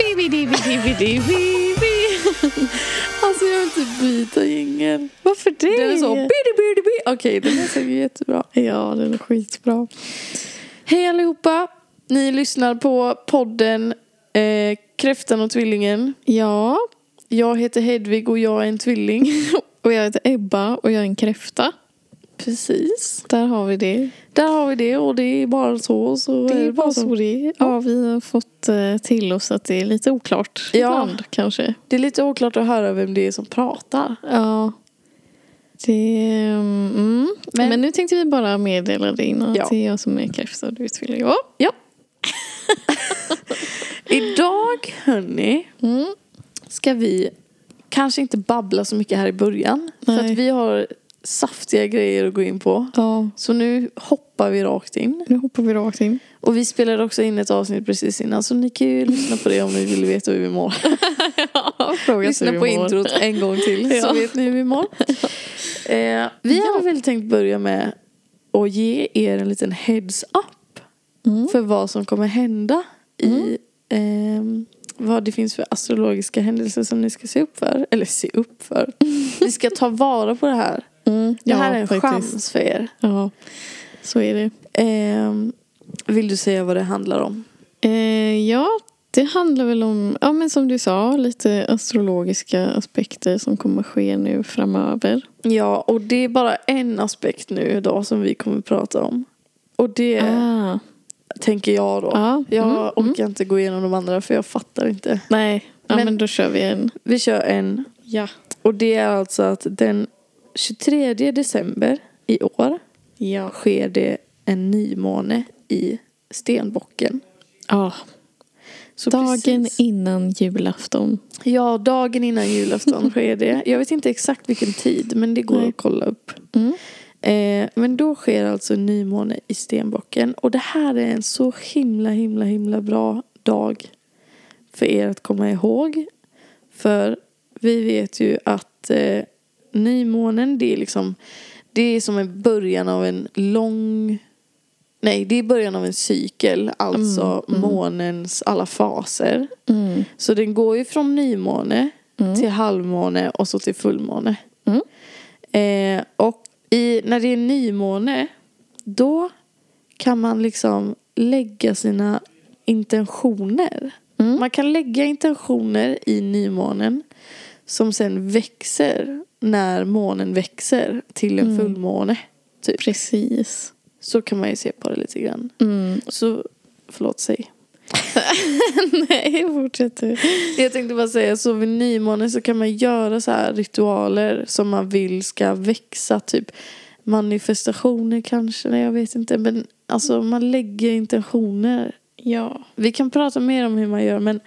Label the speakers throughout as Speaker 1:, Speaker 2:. Speaker 1: divi, divi, divi, divi.
Speaker 2: Alltså jag vill typ byta jingel. Varför det?
Speaker 1: Den är så
Speaker 2: bidi bidi bidi. Okej, den är säkert jättebra. Ja, den är skitbra. Hej allihopa. Ni lyssnar på podden eh, Kräftan och tvillingen.
Speaker 1: Ja,
Speaker 2: Jag heter Hedvig och jag är en tvilling.
Speaker 1: och jag heter Ebba och jag är en kräfta.
Speaker 2: Precis.
Speaker 1: Där har vi det.
Speaker 2: Där har vi det och det är bara så. så
Speaker 1: Det är bara så det är. Ja, vi har fått eh, till oss att det är lite oklart
Speaker 2: Ja.
Speaker 1: ibland kanske.
Speaker 2: Det är lite oklart att höra vem det är som pratar.
Speaker 1: Ja. Det, mm, mm.
Speaker 2: Men-
Speaker 1: Men, nu tänkte vi bara meddela det innan
Speaker 2: Ja.
Speaker 1: att det är jag som är kräfta och du tvilling. Ja.
Speaker 2: Ja. Idag, hörni,
Speaker 1: Mm.
Speaker 2: ska vi kanske inte babbla så mycket här i början. För
Speaker 1: Nej.
Speaker 2: att vi har saftiga grejer att gå in på.
Speaker 1: ja.
Speaker 2: Så nu hoppar vi rakt in.
Speaker 1: Nu hoppar vi rakt in.
Speaker 2: Och vi spelade också in ett avsnitt precis innan så ni kan ju lyssna på det om ni vill veta hur vi mår.
Speaker 1: Fråga
Speaker 2: lyssna på introt en gång till så
Speaker 1: Ja.
Speaker 2: vet ni hur vi mår. Eh, vi har väl tänkt börja med att ge er en liten heads up
Speaker 1: Mm.
Speaker 2: för vad som kommer hända i ehm, vad det finns för astrologiska händelser som ni ska se upp för. Eller se upp för. Ni ska ta vara på det här.
Speaker 1: Mm.
Speaker 2: Det här är en
Speaker 1: faktiskt.
Speaker 2: chans för er.
Speaker 1: Ja, så är det.
Speaker 2: Ehm, vill du säga vad det handlar om?
Speaker 1: Eh, ja, det handlar väl om, ja men som du sa, lite astrologiska aspekter som kommer ske nu framöver.
Speaker 2: Ja, och det är bara en aspekt nu idag som vi kommer prata om. Och det
Speaker 1: Ah.
Speaker 2: tänker jag då.
Speaker 1: Ja, Mm.
Speaker 2: Jag orkar inte gå igenom de andra för jag fattar inte.
Speaker 1: Nej, ja,
Speaker 2: Men-
Speaker 1: men, då kör vi en.
Speaker 2: Vi kör en.
Speaker 1: Ja.
Speaker 2: Och det är alltså att den 23 december i år
Speaker 1: Ja.
Speaker 2: sker det en nymåne i Stenbocken.
Speaker 1: ja.
Speaker 2: Så
Speaker 1: Dagen
Speaker 2: precis-
Speaker 1: innan julafton.
Speaker 2: Ja, dagen innan julafton sker det. Jag vet inte exakt vilken tid, men det går
Speaker 1: Nej.
Speaker 2: att kolla upp.
Speaker 1: Mm.
Speaker 2: Eh, men då sker alltså en nymåne i Stenbocken. Och det här är en så himla, himla, himla bra dag för er att komma ihåg. För vi vet ju att eh, nymånen, det är liksom, det är som en början av en lång Nej, det är början av en cykel, alltså månens alla faser.
Speaker 1: Mm.
Speaker 2: Så den går ju från nymåne
Speaker 1: Mm.
Speaker 2: till halvmåne och så till fullmåne.
Speaker 1: Mm.
Speaker 2: Eh, och i, när det är nymåne då kan man liksom lägga sina intentioner.
Speaker 1: Mm.
Speaker 2: Man kan lägga intentioner i nymånen som sen växer när månen växer till en
Speaker 1: Mm.
Speaker 2: fullmåne. Typ.
Speaker 1: Precis.
Speaker 2: Så kan man ju se på det lite grann.
Speaker 1: Mm.
Speaker 2: Så, förlåt, säg.
Speaker 1: Nej, fortsätt du.
Speaker 2: Jag tänkte bara säga så vid nymåne så kan man göra så här ritualer som man vill ska växa. Typ manifestationer kanske, nej jag vet inte. Men alltså man lägger intentioner.
Speaker 1: Ja.
Speaker 2: Vi kan prata mer om hur man gör men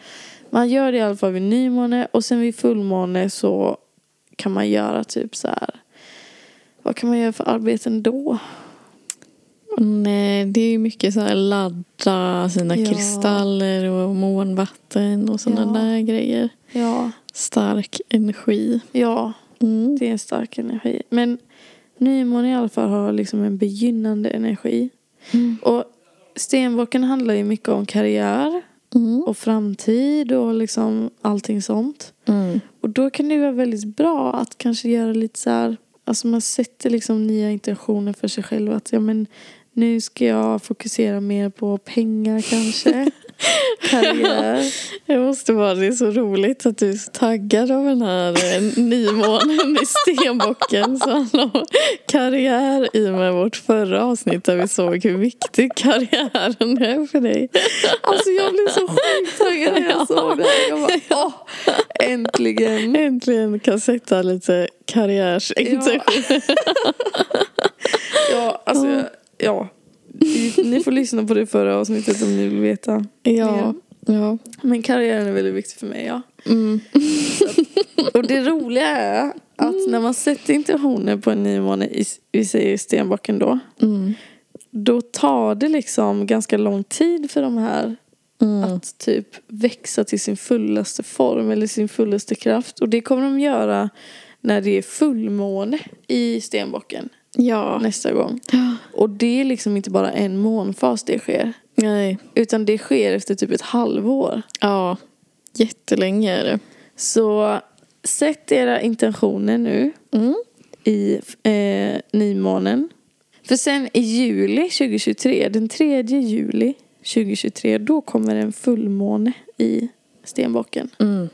Speaker 2: man gör det i alla fall vid nymåne och sen vid fullmåne så kan man göra typ så här. Vad kan man göra för arbeten då?
Speaker 1: Mm, Nej, det är ju mycket så här ladda sina
Speaker 2: Ja.
Speaker 1: kristaller och månvatten och sådana
Speaker 2: Ja.
Speaker 1: där grejer.
Speaker 2: Ja,
Speaker 1: Stark energi.
Speaker 2: ja
Speaker 1: Mm.
Speaker 2: det är en stark energi. Men nymåne i alla fall har liksom en begynnande energi.
Speaker 1: Mm.
Speaker 2: Och Stenbocken handlar ju mycket om karriär
Speaker 1: Mm.
Speaker 2: och framtid och liksom allting sånt.
Speaker 1: Mm.
Speaker 2: Och då kan det ju vara väldigt bra att kanske göra lite så här, alltså man sätter liksom nya intentioner för sig själv att ja men nu ska jag fokusera mer på pengar kanske. karriär.
Speaker 1: Jag måste bara, det är så roligt att du är så taggad av den här eh, nymånen i Stenbocken. Så handlar det om karriär i och med vårt förra avsnitt där vi såg hur viktig karriären är för dig.
Speaker 2: Alltså jag blev så sjukt taggad när jag såg det här. Jag bara åh, äntligen.
Speaker 1: Äntligen kan sätta lite
Speaker 2: typ.
Speaker 1: karriärsintention.
Speaker 2: Ja, alltså jag, ja. Ni- Ni får lyssna på det förra avsnittet om ni vill veta.
Speaker 1: Ja. ja.
Speaker 2: Men karriären är väldigt viktig för mig, ja.
Speaker 1: Mm.
Speaker 2: Och det roliga är att när man sätter intentioner på en ny måne, i, vi säger stenbocken då,
Speaker 1: Mm.
Speaker 2: då tar det liksom ganska lång tid för de här
Speaker 1: Mm.
Speaker 2: att typ växa till sin fullaste form eller sin fullaste kraft. Och det kommer de göra när det är fullmåne i stenbocken
Speaker 1: Ja.
Speaker 2: nästa gång. Och det är liksom inte bara en månfas det sker,
Speaker 1: Nej.
Speaker 2: utan det sker efter typ ett halvår.
Speaker 1: Ja. Jättelänge är det.
Speaker 2: Så sätt era intentioner nu
Speaker 1: Mm.
Speaker 2: i eh, nymånen. För sen i juli 2023, den 3 juli 2023, då kommer en fullmåne i stenbocken.
Speaker 1: Mm.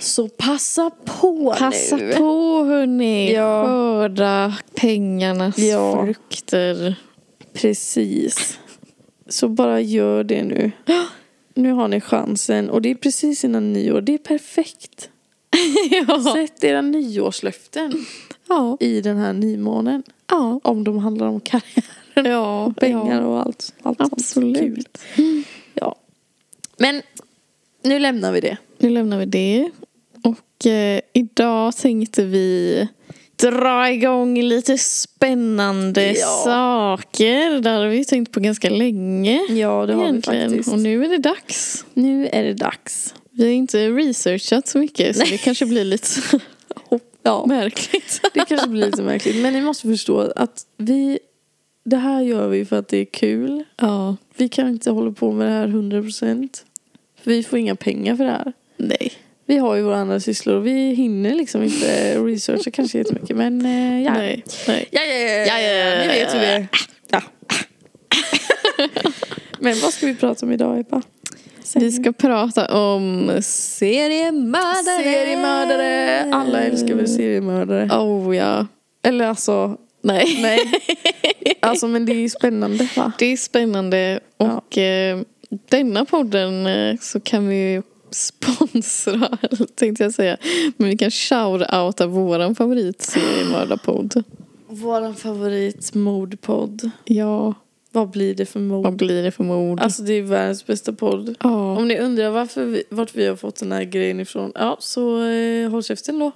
Speaker 2: Så passa på
Speaker 1: Passa
Speaker 2: nu!
Speaker 1: på hörni.
Speaker 2: Ja.
Speaker 1: Skörda pengarnas
Speaker 2: Ja.
Speaker 1: frukter.
Speaker 2: Precis. Så bara gör det nu. Nu har ni chansen och det är precis innan nyår. Det är perfekt.
Speaker 1: ja.
Speaker 2: Sätt era nyårslöften
Speaker 1: Ja.
Speaker 2: i den här nymånen.
Speaker 1: Ja.
Speaker 2: Om de handlar om karriär,
Speaker 1: ja.
Speaker 2: pengar
Speaker 1: ja.
Speaker 2: och allt, allt sånt kul.
Speaker 1: Absolut.
Speaker 2: Ja. Men nu lämnar vi det.
Speaker 1: Nu lämnar vi det. Och eh, idag tänkte vi dra igång lite spännande
Speaker 2: Ja.
Speaker 1: saker. Där har vi ju tänkt på ganska länge.
Speaker 2: Ja,
Speaker 1: Och nu är det dags.
Speaker 2: Nu är det dags.
Speaker 1: Vi har inte researchat så mycket så det kanske blir lite så
Speaker 2: Ja,
Speaker 1: märkligt.
Speaker 2: det kanske blir lite märkligt. Men ni måste förstå att vi... Det här gör vi för att det är kul.
Speaker 1: Ja.
Speaker 2: Vi kan inte hålla på med det här 100 procent. För vi får inga pengar för det här.
Speaker 1: Nej.
Speaker 2: Vi har ju våra andra sysslor och vi hinner liksom inte researcha kanske jättemycket. Men eh, ja.
Speaker 1: Nej. Nej.
Speaker 2: Ja, ja, ja, ja, ni vet hur det är. Ja. Men vad ska vi prata om idag, Ebba? Säg
Speaker 1: Vi
Speaker 2: nu.
Speaker 1: ska prata om seriemördare.
Speaker 2: Seriemördare! Alla älskar väl seriemördare?
Speaker 1: Oh ja.
Speaker 2: Eller alltså,
Speaker 1: Nej.
Speaker 2: nej. Alltså men det är ju spännande va?
Speaker 1: Det är spännande
Speaker 2: Ja.
Speaker 1: och eh, denna podden eh, så kan vi ju sponsra, tänkte jag säga. Men vi kan shout-outa våran favoritseriemördarpodd.
Speaker 2: Vår favorit mordpodd.
Speaker 1: Ja,
Speaker 2: Vad blir det för mord?
Speaker 1: vad blir det för mord?
Speaker 2: Alltså det är världens bästa podd.
Speaker 1: ja.
Speaker 2: Om ni undrar varför vi, vart vi har fått den här grejen ifrån, ja så eh, håll käften då.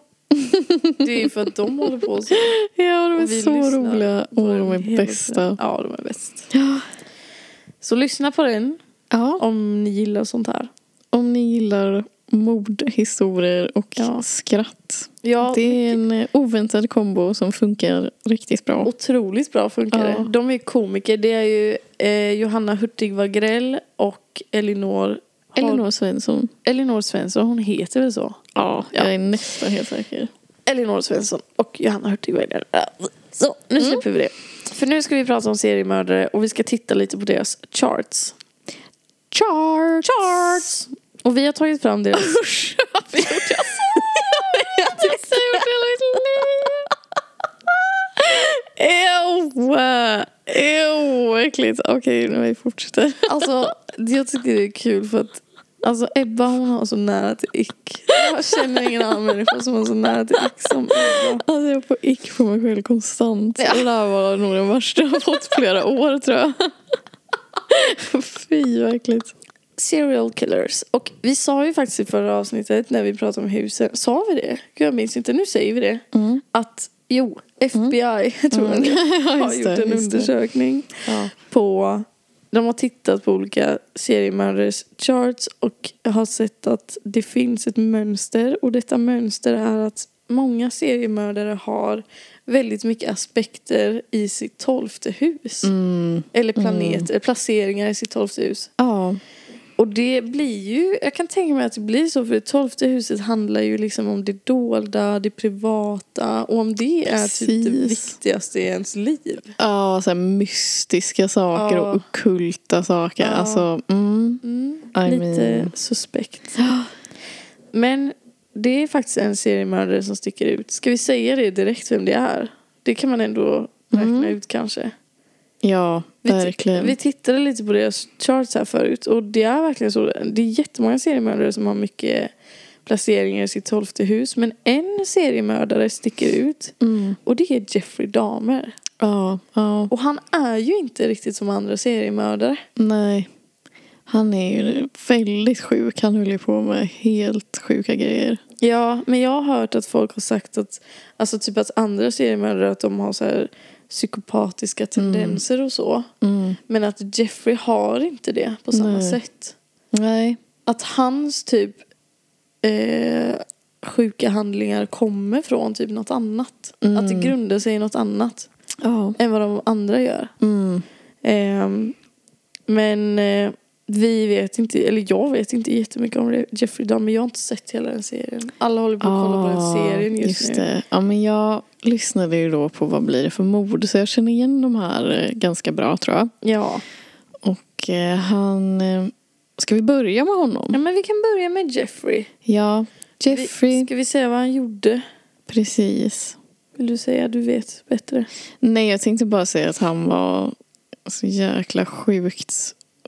Speaker 2: Det är ju för att de håller på så.
Speaker 1: ja, de är
Speaker 2: Och vi
Speaker 1: så
Speaker 2: lyssnar
Speaker 1: roliga
Speaker 2: på
Speaker 1: och de
Speaker 2: den
Speaker 1: är
Speaker 2: hela tiden.
Speaker 1: bästa.
Speaker 2: Ja, de är bäst.
Speaker 1: Ja.
Speaker 2: Så lyssna på den
Speaker 1: ja,
Speaker 2: om ni gillar sånt här.
Speaker 1: om ni gillar mordhistorier och
Speaker 2: Ja.
Speaker 1: skratt.
Speaker 2: Ja,
Speaker 1: Det är en eh, oväntad kombo som funkar riktigt bra.
Speaker 2: Otroligt bra funkar
Speaker 1: Ja.
Speaker 2: det. De är komiker. Det är ju eh, Johanna Hurtig Wagrell och Elinor, Elinor.
Speaker 1: Elinor Svensson.
Speaker 2: Elinor Svensson. Hon heter väl så?
Speaker 1: Ja, jag är nästan helt säker.
Speaker 2: Elinor Svensson och Johanna Hurtig Wagrell. Så, nu släpper vi det. Mm. För nu ska vi prata om seriemördare och vi ska titta lite på deras charts.
Speaker 1: Charts!
Speaker 2: Och vi har tagit fram deras...
Speaker 1: Usch, varför gjorde jag så? Jag vet inte jag gjort det hela mitt liv. Ew! Ew, äckligt. Okej, nu vi fortsätter.
Speaker 2: Alltså, jag tycker det är kul för att alltså, Ebba hon har så nära till ick. Jag känner ingen annan människa som har så nära till ick som Ebba.
Speaker 1: Alltså jag får ick på mig själv konstant.
Speaker 2: Ja.
Speaker 1: Det där var nog den värsta jag fått flera år tror jag. Fy vad äckligt.
Speaker 2: Serial killers. Och vi sa ju faktiskt i förra avsnittet när vi pratade om husen. Sa vi det? Gud, jag minns inte. Nu säger vi det.
Speaker 1: Mm.
Speaker 2: Att jo, FBI tror jag det, har gjort en undersökning
Speaker 1: Ja.
Speaker 2: på... De har tittat på olika seriemördares charts och har sett att det finns ett mönster. Och detta mönster är att många seriemördare har väldigt mycket aspekter i sitt tolfte hus.
Speaker 1: Mm.
Speaker 2: Eller planeter, placeringar i sitt tolfte hus.
Speaker 1: Ja.
Speaker 2: Och det blir ju, jag kan tänka mig att det blir så för det tolfte huset handlar ju liksom om det dolda, det privata och om det är typ det
Speaker 1: Precis.
Speaker 2: viktigaste i ens liv.
Speaker 1: Ja, så här mystiska saker
Speaker 2: Ja.
Speaker 1: och okulta saker.
Speaker 2: Ja.
Speaker 1: Alltså, mm.
Speaker 2: Mm,
Speaker 1: I
Speaker 2: lite
Speaker 1: mean.
Speaker 2: suspekt. Men det är faktiskt en seriemördare som sticker ut. Ska vi säga det direkt vem det är? Det kan man ändå räkna
Speaker 1: Mm.
Speaker 2: ut kanske.
Speaker 1: Ja,
Speaker 2: Vi,
Speaker 1: verkligen.
Speaker 2: vi tittade lite på deras charts här förut och det är verkligen så. Det är jättemånga seriemördare som har mycket placeringar i sitt tolfte hus. Men en seriemördare sticker ut
Speaker 1: Mm.
Speaker 2: och det är Jeffrey Dahmer.
Speaker 1: Ja, ja,
Speaker 2: Och han är ju inte riktigt som andra seriemördare.
Speaker 1: nej. Han är ju väldigt sjuk. Han höll ju på med helt sjuka grejer.
Speaker 2: Ja, men jag har hört att folk har sagt att alltså typ att andra seriemördare att de har så här psykopatiska tendenser och så.
Speaker 1: Mm.
Speaker 2: Men att Jeffrey har inte det på samma
Speaker 1: Nej.
Speaker 2: sätt.
Speaker 1: Nej.
Speaker 2: att hans typ eh, sjuka handlingar kommer från typ något annat.
Speaker 1: Mm.
Speaker 2: Att det grundar sig i något annat
Speaker 1: Ja.
Speaker 2: än vad de andra gör.
Speaker 1: Mm.
Speaker 2: Ehm, men eh, Vi vet inte, eller jag vet inte jättemycket om det, Jeffrey Dahmer. Men jag har inte sett hela den serien. Alla håller på att kolla på
Speaker 1: Ah,
Speaker 2: den serien just, nu.
Speaker 1: det. Ja, men jag lyssnade ju då på Vad blir det för mord? Så jag känner igen de här eh, ganska bra tror jag.
Speaker 2: Ja.
Speaker 1: Och eh, han... eh, Ska vi börja med honom?
Speaker 2: ja, men vi kan börja med Jeffrey.
Speaker 1: Ja, Jeffrey.
Speaker 2: Vi, ska vi säga vad han gjorde?
Speaker 1: Precis.
Speaker 2: Vill du säga? Du vet bättre.
Speaker 1: Nej, jag tänkte bara säga att han var så jäkla sjukt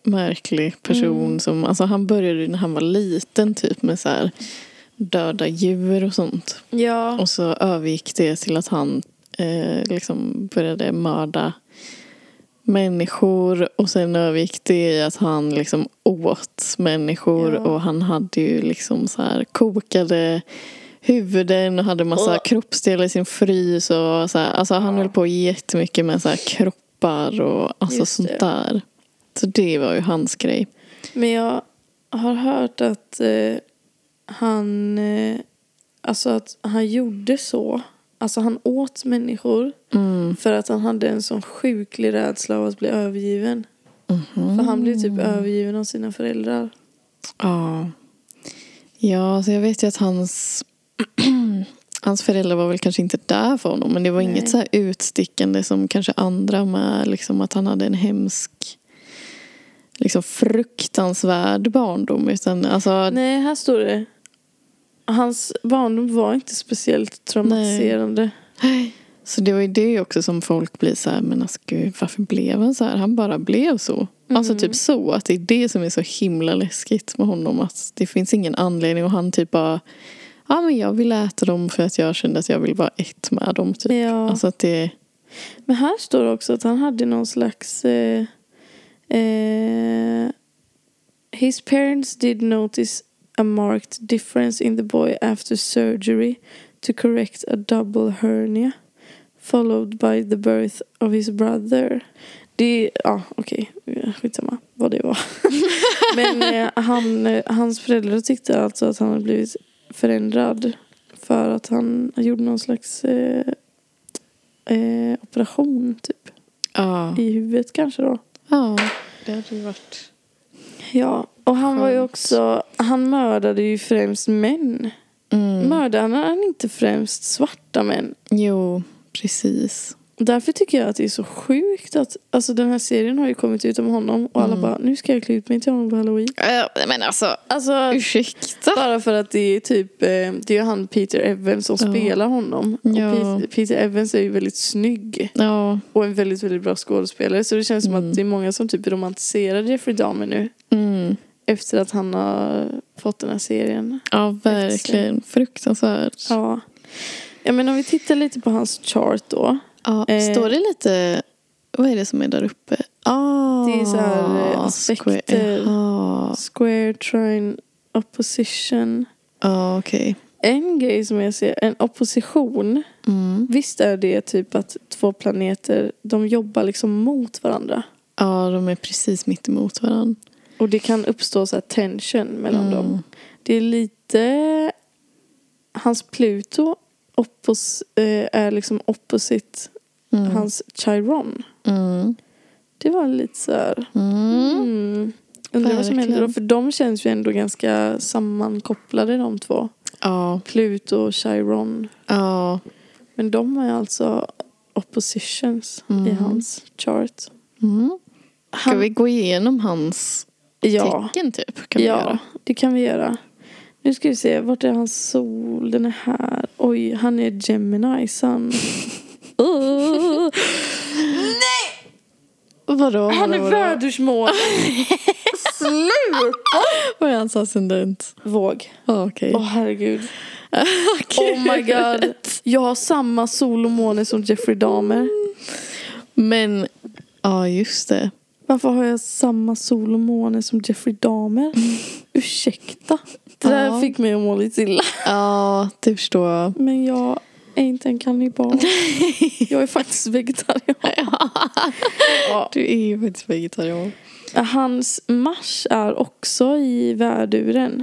Speaker 1: märklig person.
Speaker 2: Mm.
Speaker 1: Som, alltså han började ju när han var liten typ med så här döda djur och sånt.
Speaker 2: Ja.
Speaker 1: Och så övergick det till att han eh, liksom började mörda människor och sen övergick det i att han liksom åt människor
Speaker 2: Ja.
Speaker 1: och han hade ju liksom så här kokade huvuden och hade massa
Speaker 2: Ugh.
Speaker 1: kroppsdelar i sin frys och så här. Alltså han
Speaker 2: Ja.
Speaker 1: höll på jättemycket med så här kroppar och alltså
Speaker 2: Just
Speaker 1: sånt
Speaker 2: det.
Speaker 1: där. Så det var ju hans grej.
Speaker 2: Men jag har hört att eh, han... Eh, alltså att han gjorde så. Alltså han åt människor
Speaker 1: Mm.
Speaker 2: för att han hade en sån sjuklig rädsla av att bli övergiven.
Speaker 1: Mhm.
Speaker 2: För han blev typ övergiven av sina föräldrar.
Speaker 1: Ja. Ja, så jag vet ju att hans, hans föräldrar var väl kanske inte där för honom. Men det var
Speaker 2: Nej.
Speaker 1: inget så här utstickande som kanske andra med. Liksom att han hade en hemsk, liksom fruktansvärd barndom. Utan alltså,
Speaker 2: Nej, här står det. Hans barndom var inte speciellt traumatiserande.
Speaker 1: så det var ju det också som folk blir så här, men alltså gud, varför blev han så här? Han bara blev så. Alltså typ så, att det är det som är så himla läskigt med honom. Att det finns ingen anledning och han typ bara, ja men jag vill äta dem för att jag kände att jag vill vara ett med dem typ.
Speaker 2: Ja.
Speaker 1: Alltså att det,
Speaker 2: Men här står det också att han hade någon slags... Eh, eh, his parents did notice a marked difference in the boy after surgery to correct a double hernia followed by the birth of his brother. Det, ja okej, okay. skitsamma vad det var. Men eh, han, eh, hans föräldrar tyckte alltså att han hade blivit förändrad för att han gjorde någon slags eh, eh, operation typ.
Speaker 1: ja.
Speaker 2: I huvudet kanske då.
Speaker 1: Ja, det hade ju varit.
Speaker 2: Ja. Och han var ju
Speaker 1: Skönt.
Speaker 2: också, han mördade ju främst män.
Speaker 1: Mm.
Speaker 2: Mördade han inte främst svarta män?
Speaker 1: Jo, precis.
Speaker 2: Därför tycker jag att det är så sjukt att, alltså den här serien har ju kommit ut om honom och alla
Speaker 1: Mm.
Speaker 2: bara, nu ska jag klä ut mig till honom på halloween.
Speaker 1: Äh, men alltså,
Speaker 2: Alltså,
Speaker 1: ursäkta.
Speaker 2: bara för att det är typ, eh, det är ju han Peter Evans som
Speaker 1: Ja.
Speaker 2: spelar honom.
Speaker 1: Ja.
Speaker 2: Och Peter, Peter Evans är ju väldigt snygg.
Speaker 1: Ja,
Speaker 2: Och en väldigt, väldigt bra skådespelare. Så det känns som att det är många som typ romantiserar Jeffrey Dahmer nu.
Speaker 1: mm.
Speaker 2: Efter att han har fått den här serien.
Speaker 1: ja verkligen. Fruktansvärt.
Speaker 2: Ja. ja men om vi tittar lite på hans chart då.
Speaker 1: Ja,
Speaker 2: Eh.
Speaker 1: står det lite... Vad är det som är där uppe? Ah,
Speaker 2: Det är så här, eh,
Speaker 1: square- ah,
Speaker 2: aspekter.
Speaker 1: Ja,
Speaker 2: Square, trine, opposition.
Speaker 1: ah, okej.
Speaker 2: En grej som jag ser, en opposition.
Speaker 1: Mm.
Speaker 2: Visst är det typ att två planeter, de jobbar liksom mot varandra.
Speaker 1: Ja, de är precis mitt emot varandra.
Speaker 2: Och det kan uppstå så här tension mellan
Speaker 1: Mm.
Speaker 2: dem. Det är lite... Hans Pluto oppos, eh, är liksom opposite
Speaker 1: Mm.
Speaker 2: hans Chiron.
Speaker 1: Mm.
Speaker 2: Det var lite så här...
Speaker 1: Mm.
Speaker 2: Mm. Undrar vad som händer då,
Speaker 1: Verkligen.
Speaker 2: för de känns ju ändå ganska sammankopplade de två.
Speaker 1: Ja,
Speaker 2: Pluto och Chiron.
Speaker 1: ja.
Speaker 2: Men de är alltså oppositions
Speaker 1: Mm.
Speaker 2: i hans chart.
Speaker 1: Mm. Ska
Speaker 2: Han,
Speaker 1: vi gå igenom hans
Speaker 2: ja,
Speaker 1: tecken typ? Kan vi
Speaker 2: ja
Speaker 1: göra?
Speaker 2: det kan vi göra. Nu ska vi se, vart är hans sol? Den är här. Oj, han är Gemini sun. Åh.
Speaker 1: Vadå?
Speaker 2: han är
Speaker 1: vadå, vadå?
Speaker 2: vädersmål. Slut!
Speaker 1: Vad är hans ascendent?
Speaker 2: Våg.
Speaker 1: Ja, okej.
Speaker 2: Åh herregud. Oh my god. Jag har samma sol och måne som Jeffrey Dahmer.
Speaker 1: Men, ja just det.
Speaker 2: Varför har jag samma sol och måne som Jeffrey Dahmer? Ursäkta. Det där
Speaker 1: Ja.
Speaker 2: fick mig att må lite illa.
Speaker 1: Ja, det förstår jag.
Speaker 2: Men jag är inte en kannibal. jag är faktiskt vegetarian. ja.
Speaker 1: Du är ju faktiskt vegetarian.
Speaker 2: Hans Mars är också i värduren.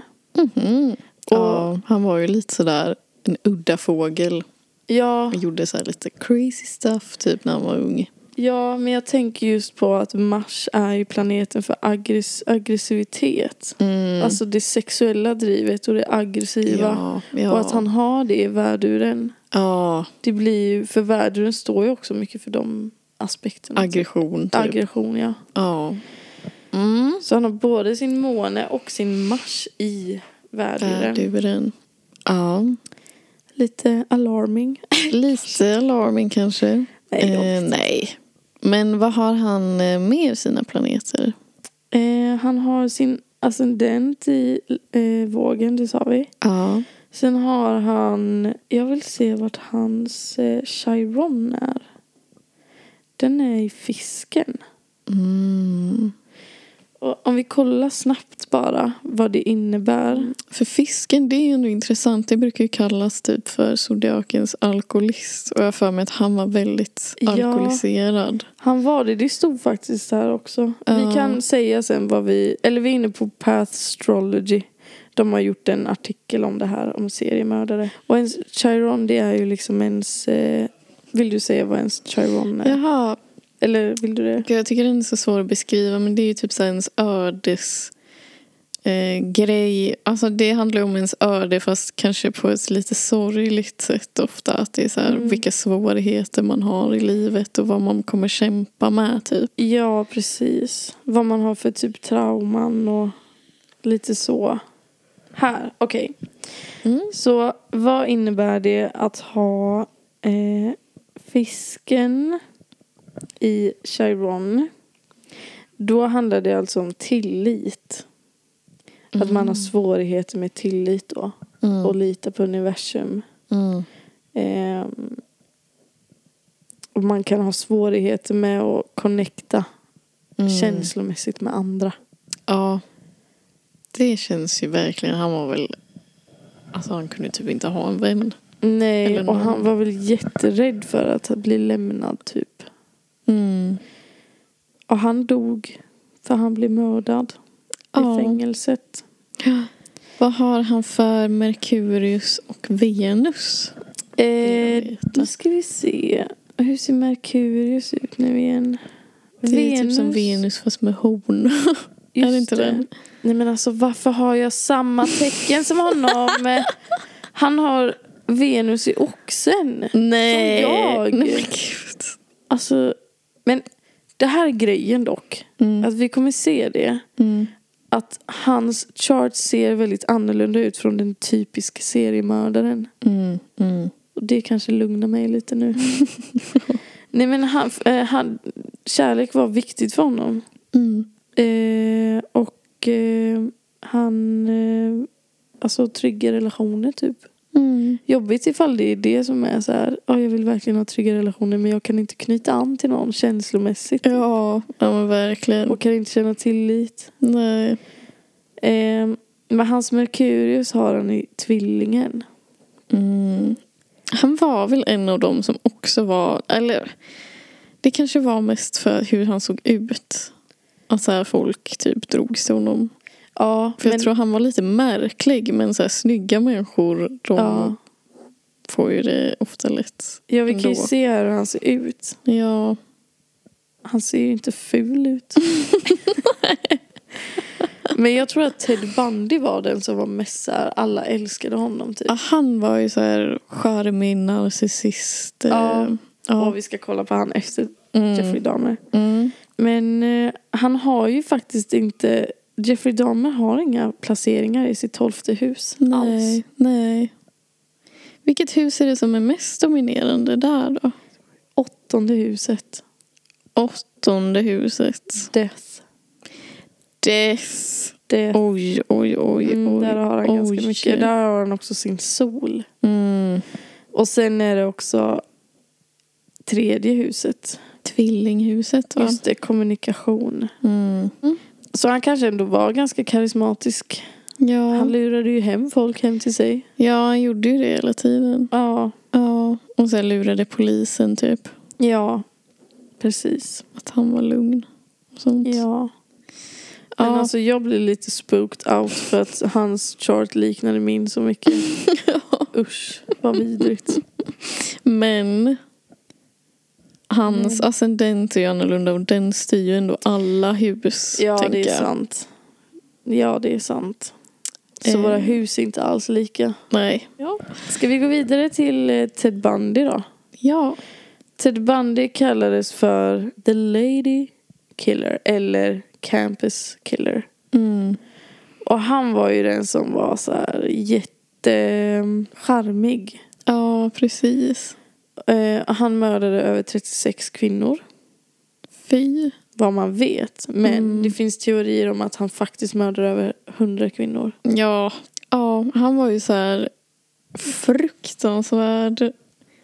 Speaker 1: Mhm.
Speaker 2: Och-
Speaker 1: Ja, han var ju lite sådär en udda fågel.
Speaker 2: Ja,
Speaker 1: Han gjorde så här lite crazy stuff typ när han var ung.
Speaker 2: Ja, men jag tänker just på att Mars är ju planeten för aggress- aggressivitet.
Speaker 1: Mm.
Speaker 2: Alltså det sexuella drivet och det aggressiva.
Speaker 1: ja, ja.
Speaker 2: Och att han har det i värduren.
Speaker 1: Ja,
Speaker 2: Det blir ju, för värduren står ju också mycket för de aspekterna.
Speaker 1: aggression typ.
Speaker 2: Aggression, ja.
Speaker 1: ja. Mm.
Speaker 2: Så han har både sin måne och sin mars i värduren.
Speaker 1: Värduren. Ja.
Speaker 2: Lite alarming.
Speaker 1: Lite alarming kanske.
Speaker 2: Nej, då.
Speaker 1: eh, nej. Men vad har han eh, mer sina planeter?
Speaker 2: Eh, han har sin ascendent i eh, vågen, det sa vi.
Speaker 1: Ja.
Speaker 2: Sen har han, jag vill se vart hans eh, Chiron är. Den är i fisken.
Speaker 1: Mm.
Speaker 2: Och om vi kollar snabbt bara vad det innebär.
Speaker 1: För fisken, det är ju ändå intressant. Det brukar ju kallas typ för zodiakens alkoholist. Och jag har för mig att han var väldigt
Speaker 2: Ja.
Speaker 1: alkoholiserad.
Speaker 2: Han var det, det stod faktiskt här också.
Speaker 1: Ja.
Speaker 2: Vi kan säga sen vad vi, eller vi är inne på Path Astrology. De har gjort en artikel om det här, om seriemördare. Och ens Chiron det är ju liksom ens, eh, vill du säga vad ens Chiron är?
Speaker 1: Jaha,
Speaker 2: Eller vill du det?
Speaker 1: Gud, jag tycker den är så svår att beskriva men det är ju typ så här ens ödes eh, grej. Alltså det handlar ju om ens öde fast kanske på ett lite sorgligt sätt ofta. Att det är så här,
Speaker 2: Mm.
Speaker 1: vilka svårigheter man har i livet och vad man kommer kämpa med typ.
Speaker 2: Ja, precis. Vad man har för typ trauman och lite så. Här, okej.
Speaker 1: Mm.
Speaker 2: Så vad innebär det att ha eh, fisken i Chiron? Då handlar det alltså om tillit. Att man har svårigheter med tillit då.
Speaker 1: Mm.
Speaker 2: Och lita på universum.
Speaker 1: Mm.
Speaker 2: Ehm, och man kan ha svårigheter med att connecta
Speaker 1: Mm.
Speaker 2: känslomässigt med andra.
Speaker 1: Ja. Det känns ju verkligen. Han var väl... Alltså han kunde typ inte ha en vän.
Speaker 2: Nej,
Speaker 1: Eller
Speaker 2: och
Speaker 1: någon.
Speaker 2: han var väl jätterädd för att bli lämnad typ.
Speaker 1: Mm.
Speaker 2: Och han dog för han blev mördad
Speaker 1: Ja.
Speaker 2: i fängelset.
Speaker 1: Vad har han för Merkurius och Venus? Jag
Speaker 2: Eh,
Speaker 1: vet
Speaker 2: nu ska vi se. Hur ser Merkurius ut nu igen?
Speaker 1: Det är typ som Venus fast med horn.
Speaker 2: Just
Speaker 1: är det inte den?
Speaker 2: Nej men alltså varför har jag samma tecken som honom? han har Venus i oxen.
Speaker 1: Nej.
Speaker 2: Som jag.
Speaker 1: Nej men gud.
Speaker 2: Alltså, men det här är grejen dock.
Speaker 1: Mm.
Speaker 2: Att vi kommer se det.
Speaker 1: Mm.
Speaker 2: Att hans chart ser väldigt annorlunda ut från den typiska seriemördaren.
Speaker 1: Mm. Mm.
Speaker 2: Och det kanske lugnar mig lite nu. Nej men han, eh, han, kärlek var viktigt för honom.
Speaker 1: Mm.
Speaker 2: Eh, och eh, han, eh, alltså trygga relationer typ.
Speaker 1: Mm.
Speaker 2: Jobbigt ifall det är det som är så här, "Ja, jag vill verkligen ha trygga relationer men jag kan inte knyta an till någon känslomässigt.
Speaker 1: Ja, ja men verkligen.
Speaker 2: Och kan inte känna tillit.
Speaker 1: Nej.
Speaker 2: Eh, men hans Merkurius har han i tvillingen.
Speaker 1: Mm. Han var väl en av dem som också var, eller det kanske var mest för hur han såg ut. Att så här folk typ drogs till honom.
Speaker 2: Ja,
Speaker 1: För
Speaker 2: men,
Speaker 1: jag tror han var lite märklig men så här, snygga människor de
Speaker 2: ja,
Speaker 1: får ju det ofta lätt.
Speaker 2: ja, vi kan ju
Speaker 1: ändå.
Speaker 2: se här hur han ser ut.
Speaker 1: Ja.
Speaker 2: Han ser ju inte ful ut. men jag tror att Ted Bundy var den som var mest så här, alla älskade honom typ.
Speaker 1: Ja, han var ju så här charmig narcissist. eh,
Speaker 2: Ja.
Speaker 1: ja.
Speaker 2: Och vi ska kolla på han efter Jeffrey
Speaker 1: Mm.
Speaker 2: Dahmer.
Speaker 1: Mm.
Speaker 2: Men eh, han har ju faktiskt inte... Jeffrey Dahmer har inga placeringar i sitt tolfte hus alls.
Speaker 1: Nej, nej. Vilket hus är det som är mest dominerande där då?
Speaker 2: Åttonde huset.
Speaker 1: Åttonde huset.
Speaker 2: Death.
Speaker 1: Death.
Speaker 2: Death.
Speaker 1: Oj, oj, oj, oj.
Speaker 2: Mm, där har han
Speaker 1: oj.
Speaker 2: ganska mycket. Där har han också sin sol.
Speaker 1: Mm.
Speaker 2: Och sen är det också tredje huset.
Speaker 1: Tvillinghuset va?
Speaker 2: Just det, kommunikation.
Speaker 1: Mm.
Speaker 2: Så han kanske ändå var ganska karismatisk.
Speaker 1: Ja.
Speaker 2: Han lurade ju hem folk hem till sig.
Speaker 1: ja, han gjorde ju det hela tiden.
Speaker 2: Ja,
Speaker 1: Ja, och sen lurade polisen typ.
Speaker 2: ja. precis.
Speaker 1: Att han var lugn. Och sånt.
Speaker 2: Ja.
Speaker 1: Ja.
Speaker 2: Men alltså jag blev lite spooked out för att hans chart liknade min så mycket. Usch, vad vidrigt.
Speaker 1: Men Hans
Speaker 2: Mm.
Speaker 1: ascendent är ju annorlunda och den styr ju ändå alla hus.
Speaker 2: Ja,
Speaker 1: tänker
Speaker 2: det är
Speaker 1: jag.
Speaker 2: sant. Ja, det är sant. Så
Speaker 1: Eh.
Speaker 2: våra hus är inte alls lika.
Speaker 1: Nej.
Speaker 2: Ska vi gå vidare till eh, Ted Bundy då?
Speaker 1: Ja.
Speaker 2: Ted Bundy kallades för The Lady Killer eller Campus Killer.
Speaker 1: Mm.
Speaker 2: Och han var ju den som var så här ehm, jättecharmig.
Speaker 1: Ja, precis.
Speaker 2: Eh, han mördade över 36 kvinnor,
Speaker 1: Fy.
Speaker 2: vad man vet. Men
Speaker 1: Mm.
Speaker 2: det finns teorier om att han faktiskt mördade över 100 kvinnor.
Speaker 1: Ja. Ja, han var ju så här fruktansvärd.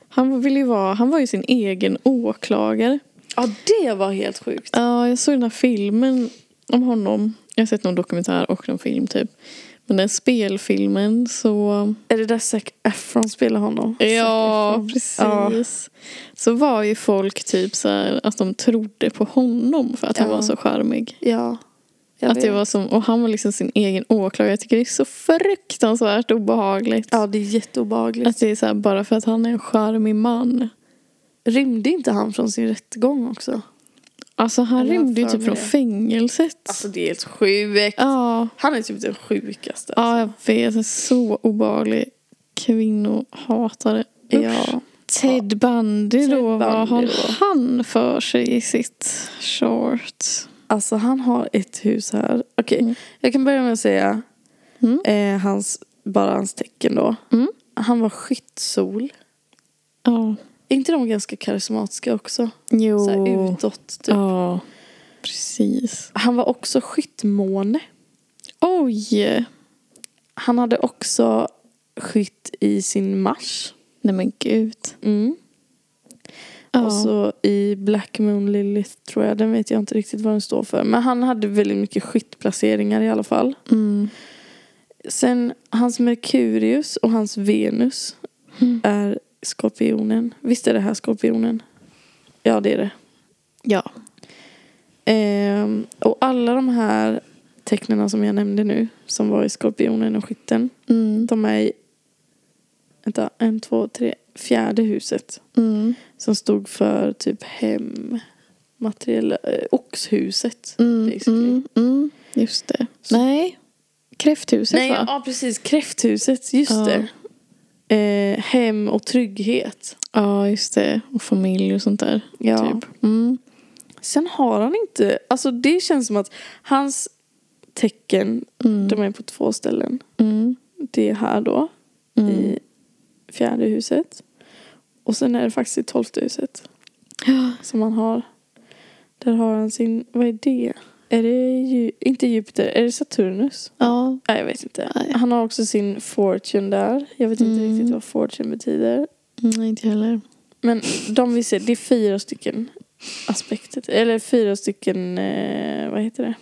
Speaker 1: Han ville ju vara, han var ju sin egen åklagare.
Speaker 2: Ja, det var helt sjukt.
Speaker 1: Ja, jag såg den här filmen om honom. Jag har sett någon dokumentär och någon film typ. Men den spelfilmen så...
Speaker 2: Är det där Zac Efron spelar honom? Zac
Speaker 1: Ja,
Speaker 2: Efron.
Speaker 1: precis. Så var ju folk typ så här att de trodde på honom för att han
Speaker 2: Ja.
Speaker 1: var så charmig.
Speaker 2: Ja. Jag
Speaker 1: Att det
Speaker 2: vet.
Speaker 1: var som, och han var liksom sin egen åklagare. Jag tycker det är så fruktansvärt obehagligt.
Speaker 2: Ja, det är jätteobehagligt.
Speaker 1: Att det är så här bara för att han är en charmig man.
Speaker 2: Rymde inte han från sin rättegång också?
Speaker 1: Alltså han
Speaker 2: Eller jag har
Speaker 1: rymde ju
Speaker 2: för
Speaker 1: typ
Speaker 2: mig
Speaker 1: från
Speaker 2: det.
Speaker 1: fängelset.
Speaker 2: Alltså det är helt sjukt.
Speaker 1: ja.
Speaker 2: Han är typ den sjukaste. alltså.
Speaker 1: ja, jag vet. En så obehaglig kvinnohatare. Usch.
Speaker 2: Ja.
Speaker 1: Ted Bundy
Speaker 2: Ted
Speaker 1: då, vad
Speaker 2: Bundy
Speaker 1: har
Speaker 2: då.
Speaker 1: han för sig i sitt short?
Speaker 2: Alltså han har ett hus här. Okej,
Speaker 1: Mm.
Speaker 2: jag kan börja med att säga
Speaker 1: Mm.
Speaker 2: eh, hans, bara hans tecken då.
Speaker 1: Mm.
Speaker 2: Han var skyttsol.
Speaker 1: Ja.
Speaker 2: Är inte de ganska karismatiska också?
Speaker 1: Jo.
Speaker 2: Så här utåt typ.
Speaker 1: Ja, precis.
Speaker 2: Han var också skyttmåne.
Speaker 1: Oj!
Speaker 2: Han hade också skytt i sin marsch.
Speaker 1: Nej men gud.
Speaker 2: Och så i Black Moon Lilith tror jag. Den vet jag inte riktigt vad den står för. Men han hade väldigt mycket skyttplaceringar i alla fall.
Speaker 1: Mm.
Speaker 2: Sen hans Merkurius och hans Venus
Speaker 1: Mm.
Speaker 2: är skorpionen. Visst är det här skorpionen? Ja, det är det.
Speaker 1: Ja.
Speaker 2: Ehm, och alla de här tecknena som jag nämnde nu, som var i skorpionen och skytten,
Speaker 1: Mm.
Speaker 2: de är i vänta, en, två, tre, fjärde huset.
Speaker 1: Mm.
Speaker 2: Som stod för typ hem, materiella, eh, oxhuset.
Speaker 1: Mm.
Speaker 2: Basically.
Speaker 1: Mm. Mm. Just det.
Speaker 2: Så-
Speaker 1: Nej. Kräfthuset
Speaker 2: Nej,
Speaker 1: va?
Speaker 2: ja precis, kräfthuset, just
Speaker 1: Ja.
Speaker 2: det. Eh, hem och trygghet.
Speaker 1: Ja, just det. Och familj och sånt där.
Speaker 2: Ja.
Speaker 1: Typ. Mm.
Speaker 2: Sen har han inte, alltså det känns som att hans tecken,
Speaker 1: Mm.
Speaker 2: de är på två ställen.
Speaker 1: Mm.
Speaker 2: Det är här då,
Speaker 1: Mm.
Speaker 2: i fjärde huset. Och sen är det faktiskt i tolfte huset
Speaker 1: Ja.
Speaker 2: som han har. Där har han sin, vad är det? Är det Ju, inte Jupiter, är det Saturnus?
Speaker 1: Ja.
Speaker 2: Nej jag vet inte.
Speaker 1: Nej.
Speaker 2: Han har också sin fortune där. Jag vet inte
Speaker 1: Mm.
Speaker 2: riktigt vad fortune betyder.
Speaker 1: Nej, inte heller.
Speaker 2: Men de vi ser, det är fyra stycken aspekter. Eller fyra stycken, eh, vad heter det?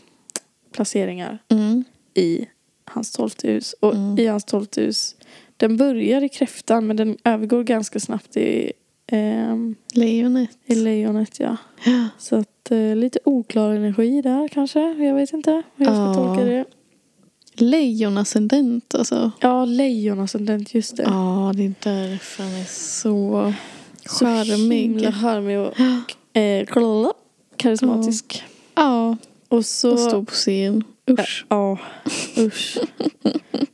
Speaker 2: Placeringar
Speaker 1: Mm.
Speaker 2: i hans tolfte hus. Och
Speaker 1: Mm.
Speaker 2: i hans tolfte hus, den börjar i kräftan men den övergår ganska snabbt i, ehm,
Speaker 1: Lejonet.
Speaker 2: i lejonet. Ja.
Speaker 1: Ja.
Speaker 2: Så att eh, lite oklar energi där kanske. Jag vet inte hur jag ska
Speaker 1: Ja.
Speaker 2: tolka det.
Speaker 1: Lejonascendent alltså.
Speaker 2: Ja, lejonascendent, just det.
Speaker 1: Ja, det är därför han är så
Speaker 2: Så
Speaker 1: charmig.
Speaker 2: himla charmig och eh, kolla, karismatisk.
Speaker 1: Ja,
Speaker 2: Och så...
Speaker 1: och stå på scen. Usch.
Speaker 2: Ja, usch.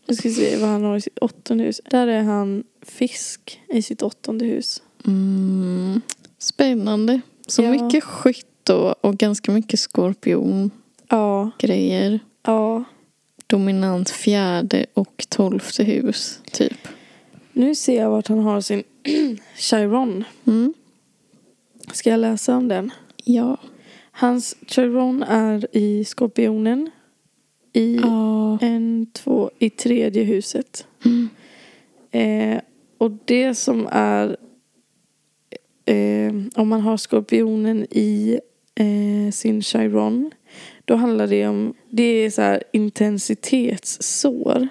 Speaker 2: Nu ska vi se vad han har i sitt åttonde hus. Där är han fisk i sitt åttonde hus.
Speaker 1: Mm. Spännande. Så
Speaker 2: Ja.
Speaker 1: mycket skytt och, och ganska mycket skorpiongrejer.
Speaker 2: Ja, ja.
Speaker 1: Dominant fjärde och tolfte hus, typ.
Speaker 2: Nu ser jag vart han har sin Chiron.
Speaker 1: Mm.
Speaker 2: Ska jag läsa om den?
Speaker 1: Ja.
Speaker 2: Hans Chiron är i skorpionen. I
Speaker 1: Ja.
Speaker 2: en, två, i tredje huset.
Speaker 1: Mm.
Speaker 2: Eh, och det som är eh, om man har skorpionen i eh, sin chiron då handlar det om det är så här intensitetssår.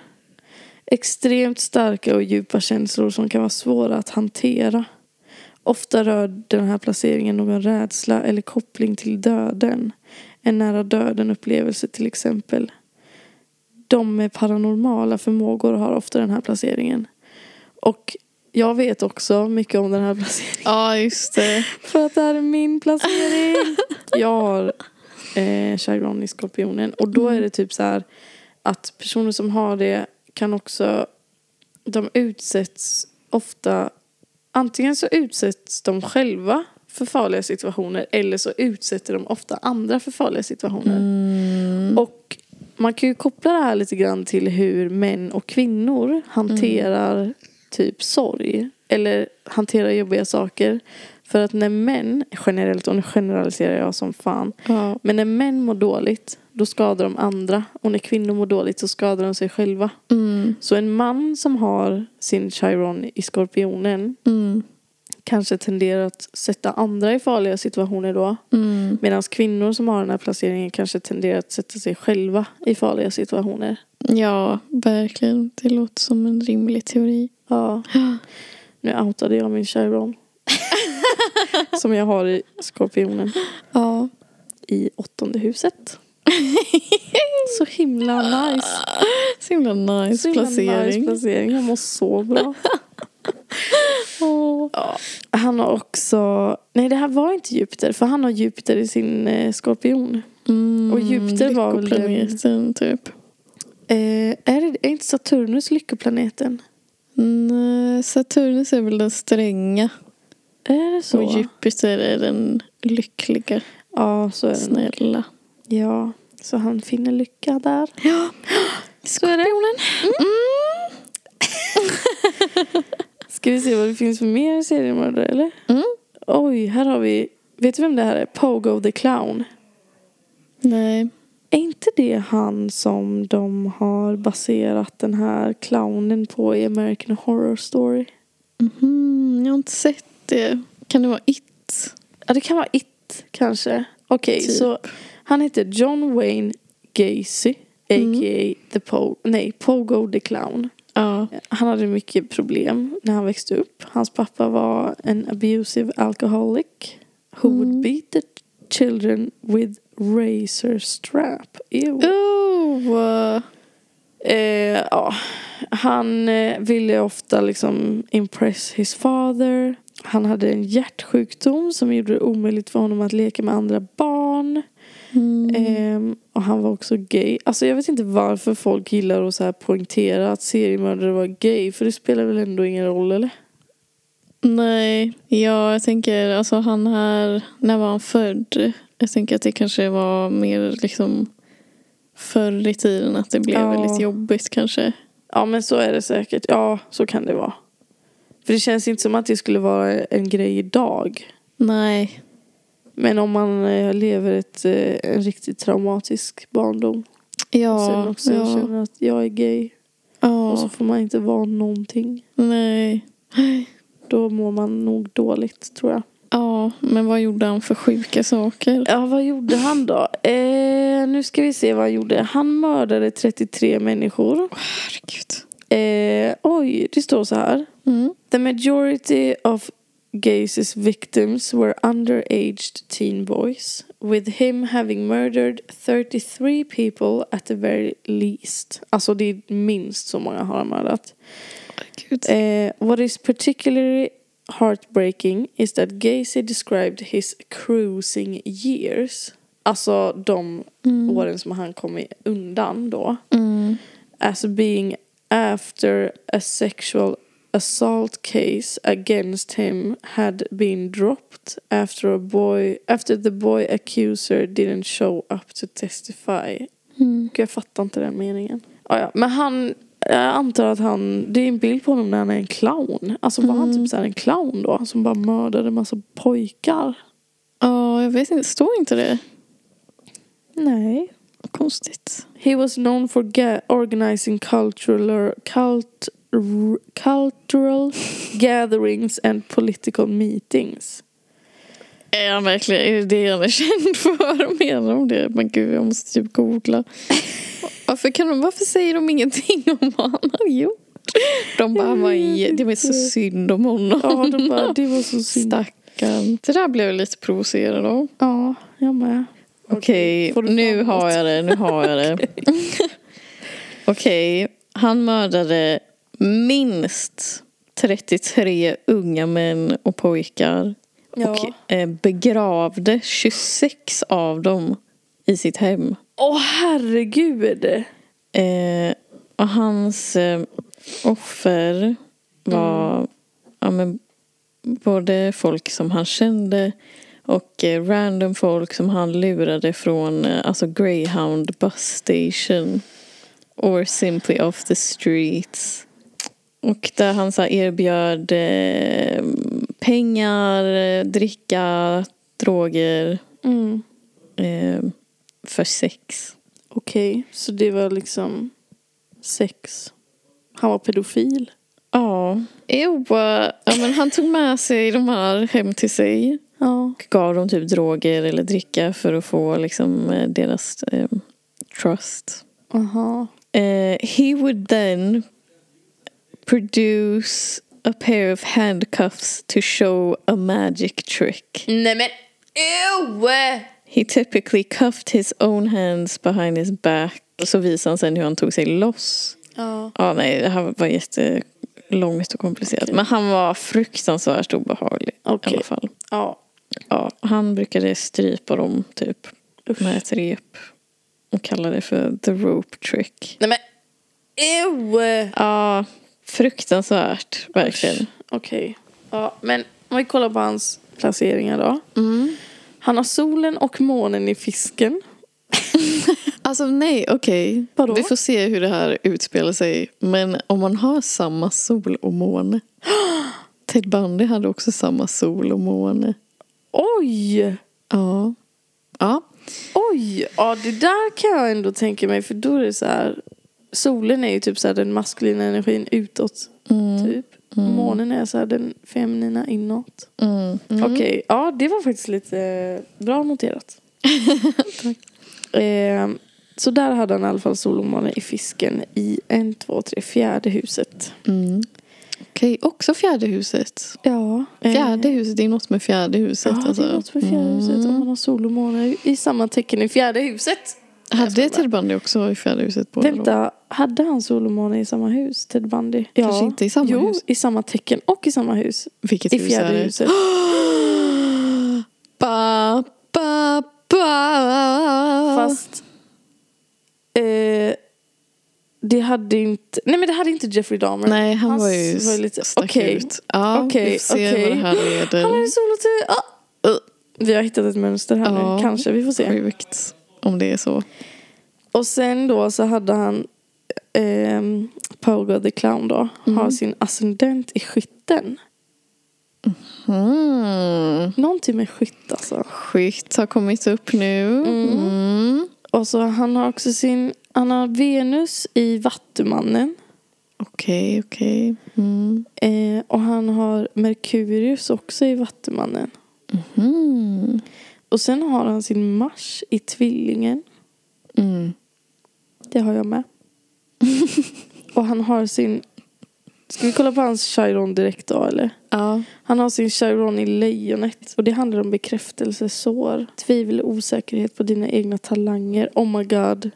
Speaker 2: Extremt starka och djupa känslor som kan vara svåra att hantera. Ofta rör den här placeringen någon rädsla eller koppling till döden. En nära döden upplevelse till exempel. De med paranormala förmågor har ofta den här placeringen. Och Jag vet också mycket om den här placeringen.
Speaker 1: Ja, just det.
Speaker 2: För att det här är min placering. Jag har eh, Chagron i Skorpionen. Och då är det typ så här att personer som har det kan också... De utsätts ofta... Antingen så utsätts de själva för farliga situationer eller så utsätter de ofta andra för farliga situationer.
Speaker 1: Mm.
Speaker 2: Och man kan ju koppla det här lite grann till hur män och kvinnor hanterar typ sorg. Eller hanterar jobbiga saker. För att när män, generellt, och nu generaliserar jag som fan.
Speaker 1: Ja.
Speaker 2: Men när män mår dåligt, då skadar de andra. Och när kvinnor mår dåligt så skadar de sig själva.
Speaker 1: Mm.
Speaker 2: Så en man som har sin Chiron i Skorpionen
Speaker 1: Mm.
Speaker 2: kanske tenderar att sätta andra i farliga situationer då.
Speaker 1: Mm.
Speaker 2: Medan kvinnor som har den här placeringen kanske tenderar att sätta sig själva i farliga situationer.
Speaker 1: Ja, verkligen. Det låter som en rimlig teori.
Speaker 2: Ja. Nu outade jag min Chiron. som jag har i Skorpionen.
Speaker 1: Ja.
Speaker 2: I åttonde huset. Så himla nice.
Speaker 1: Så himla nice
Speaker 2: Så himla
Speaker 1: placering.
Speaker 2: Nice placering. Jag mår så bra.
Speaker 1: Åh.
Speaker 2: Han har också... Nej, det här var inte Jupiter. För han har Jupiter i sin eh, skorpion.
Speaker 1: Mm,
Speaker 2: Och Jupiter var väl den-
Speaker 1: lyckoplaneten, typ.
Speaker 2: Eh, är, det, är inte Saturnus lyckoplaneten?
Speaker 1: Mm, Saturnus är väl den stränga
Speaker 2: Är det så?
Speaker 1: och Jupiter är den lyckliga,
Speaker 2: ja, så är det. nog.
Speaker 1: snälla.
Speaker 2: Ja, så han finner lycka där.
Speaker 1: Ja, så är det.
Speaker 2: Ska vi se vad det finns för mer seriemördare, eller?
Speaker 1: Mm.
Speaker 2: Oj, här har vi... Vet du vem det här är? Pogo the Clown.
Speaker 1: Nej.
Speaker 2: Är inte det han som de har baserat den här clownen på i American Horror Story?
Speaker 1: Mhm, jag har inte sett det. Kan det vara It?
Speaker 2: Ja, det kan vara It kanske. Okej,
Speaker 1: Typ.
Speaker 2: så han heter John Wayne Gacy, a.k.a.
Speaker 1: Mm.
Speaker 2: The po- nej, Pogo the Clown.
Speaker 1: Ja.
Speaker 2: Han hade mycket problem när han växte upp. Hans pappa var en abusive alcoholic who would
Speaker 1: Mm.
Speaker 2: beat the children with razor strap. Ew.
Speaker 1: Oh!
Speaker 2: Eh, ja. Han eh, ville ofta liksom impress his father. Han hade en hjärtsjukdom som gjorde det omöjligt för honom att leka med andra barn.
Speaker 1: Mm.
Speaker 2: Ehm, och han var också gay. Alltså jag vet inte varför folk gillar att så här poängtera att seriemördare var gay. För det spelar väl ändå ingen roll eller?
Speaker 1: Nej, ja, jag tänker alltså han här, när var han född? Jag tänker att det kanske var mer liksom förr i tiden att det blev
Speaker 2: Ja.
Speaker 1: väldigt jobbigt kanske.
Speaker 2: Ja men så är det säkert. Ja så kan det vara. För det känns inte som att det skulle vara en grej idag.
Speaker 1: Nej,
Speaker 2: Men om man eh, lever ett, eh, en riktigt traumatisk barndom. Och sen
Speaker 1: ja,
Speaker 2: också
Speaker 1: ja,
Speaker 2: känner att jag är gay. Och så
Speaker 1: ja,
Speaker 2: får man inte vara någonting.
Speaker 1: nej,
Speaker 2: Då mår man nog dåligt tror jag.
Speaker 1: ja, men vad gjorde han för sjuka saker?
Speaker 2: Ja, vad gjorde han då? Eh, nu ska vi se vad han gjorde. Han mördade 33 människor.
Speaker 1: Herregud.
Speaker 2: Eh, oj, det står så här.
Speaker 1: Mm.
Speaker 2: The majority of Gacy's victims were underaged teen boys, with him having murdered 33 people at the very least. Alltså det är minst så många har han mördat.
Speaker 1: Herregud.
Speaker 2: Eh, what is particularly heartbreaking is that Gacy described his cruising years, alltså de åren som han kom i- undan då,
Speaker 1: Mm.
Speaker 2: as being after a sexual assault case against him had been dropped after a boy after the boy accuser didn't show up to testify
Speaker 1: Mm.
Speaker 2: Gud, jag fattar inte den meningen. Ja, ja. Men han, jag antar att han, det är en bild på honom när han är en clown. Alltså var han
Speaker 1: Mm.
Speaker 2: typ så här en clown då? Som bara mördade massa pojkar?
Speaker 1: Ja, jag vet inte, står inte det?
Speaker 2: Nej.
Speaker 1: Konstigt.
Speaker 2: He was known for ga- organizing cultural, cult, r- cultural gatherings and political meetings.
Speaker 1: Är han verkligen, är det det han är känd för? Menar de det? Men gud, jag måste typ googla. Varför, kan de, varför säger de ingenting om vad han har gjort? De bara, han var i, det var så synd om honom.
Speaker 2: Ja, de bara, det var så synd.
Speaker 1: Stackarn. Det där blev jag lite provocerad av.
Speaker 2: Ja, jag med.
Speaker 1: Okej,
Speaker 2: får du
Speaker 1: nu
Speaker 2: fram
Speaker 1: har
Speaker 2: något?
Speaker 1: jag det, nu har jag det. Okej, han mördade minst 33 unga män och pojkar.
Speaker 2: Ja.
Speaker 1: Och eh, begravde 26 av dem i sitt hem.
Speaker 2: Åh herregud!
Speaker 1: Eh, och hans eh, offer var ja, men, både folk som han kände och eh, random folk som han lurade från eh, alltså Greyhound bus station. Or simply off the streets. Och där han så här, erbjöd eh, pengar, eh, dricka, droger
Speaker 2: Mm.
Speaker 1: eh, för sex.
Speaker 2: Okej, så det var liksom sex. Han var pedofil.
Speaker 1: Ja. Jo, eh, ja, men han tog med sig de här hem till sig.
Speaker 2: Ja.
Speaker 1: Och gav dem typ droger eller dricka för att få liksom eh, deras eh, trust.
Speaker 2: Aha.
Speaker 1: Eh, he would then produce a pair of handcuffs to show a magic trick.
Speaker 2: Nej men ew!
Speaker 1: He typically cuffed his own hands behind his back. Och så visade han sen hur han tog sig loss.
Speaker 2: Ja.
Speaker 1: Ja, nej, det här var jättelångt och komplicerat. Men han var fruktansvärt obehaglig i
Speaker 2: Okej.
Speaker 1: alla fall.
Speaker 2: Ja.
Speaker 1: Ja, han brukade strypa dem typ
Speaker 2: Usch.
Speaker 1: med ett rep. Och kallade det för the rope trick.
Speaker 2: Nej men ew!
Speaker 1: Ja, fruktansvärt verkligen.
Speaker 2: Okej. Ja, men om vi kollar på hans placeringar då.
Speaker 1: Mm.
Speaker 2: Han har solen och månen i fisken.
Speaker 1: Alltså nej, okej.
Speaker 2: Vadå?
Speaker 1: Vi får se hur det här utspelar sig. Men om man har samma sol och måne. Ted Bundy hade också samma sol och måne.
Speaker 2: Oj!
Speaker 1: Ja. Ja.
Speaker 2: Oj! Ja, det där kan jag ändå tänka mig för då är det så här. Solen är ju typ så här den maskulina energin utåt.
Speaker 1: Mm,
Speaker 2: Typ. Månen är så här den feminina inåt.
Speaker 1: Mm.
Speaker 2: Okej, ja det var faktiskt lite bra noterat. eh, så där hade han i alla fall sol och måne i fisken i en, två, tre, fjärde huset.
Speaker 1: Mm. Okej, också fjärde huset.
Speaker 2: Ja.
Speaker 1: Fjärde huset, det är något med fjärde huset.
Speaker 2: Eh,
Speaker 1: alltså. Mm.
Speaker 2: Ja, det är något med fjärde huset. Om man har sol och måne i samma tecken i fjärde huset.
Speaker 1: Hade Ted Bundy också i fjärde huset på
Speaker 2: Vänta, hade han sol och måne i samma hus, Ted Bundy?
Speaker 1: Kanske inte i samma
Speaker 2: jo,
Speaker 1: hus.
Speaker 2: i samma tecken och i samma hus.
Speaker 1: Vilket
Speaker 2: I
Speaker 1: hus
Speaker 2: fjärde
Speaker 1: är det?
Speaker 2: huset.
Speaker 1: Ba, ba, ba.
Speaker 2: Fast... Eh, det hade inte... Nej men det hade inte Jeffrey Dahmer.
Speaker 1: Nej, han
Speaker 2: Hans
Speaker 1: var ju
Speaker 2: var lite-
Speaker 1: stack
Speaker 2: okej.
Speaker 1: ut. Ja,
Speaker 2: Okej,
Speaker 1: vi får se
Speaker 2: okej.
Speaker 1: vad det här leder.
Speaker 2: Han hade sol och tur. Ah! Uh. Vi har hittat ett mönster här
Speaker 1: Ja.
Speaker 2: nu. Kanske, vi får se.
Speaker 1: Sjukt, om det är så.
Speaker 2: Och sen då så hade han... ehm, Pogo the Clown då. Har sin ascendent i skytten.
Speaker 1: Mm.
Speaker 2: Någonting med skytt alltså.
Speaker 1: Skytt har kommit upp nu. Mm.
Speaker 2: Och så han har också sin, han har Venus i Vattumannen.
Speaker 1: Okej, okej. Mm.
Speaker 2: Eh, och han har Merkurius också i Vattumannen.
Speaker 1: Mm.
Speaker 2: Och sen har han sin Mars i Tvillingen.
Speaker 1: Mm.
Speaker 2: Det har jag med. och han har sin, ska vi kolla på hans Chiron direkt då eller?
Speaker 1: Ja.
Speaker 2: Han har sin Chiron i Lejonet. Och det handlar om bekräftelse, sår, tvivel och osäkerhet på dina egna talanger. Oh my god.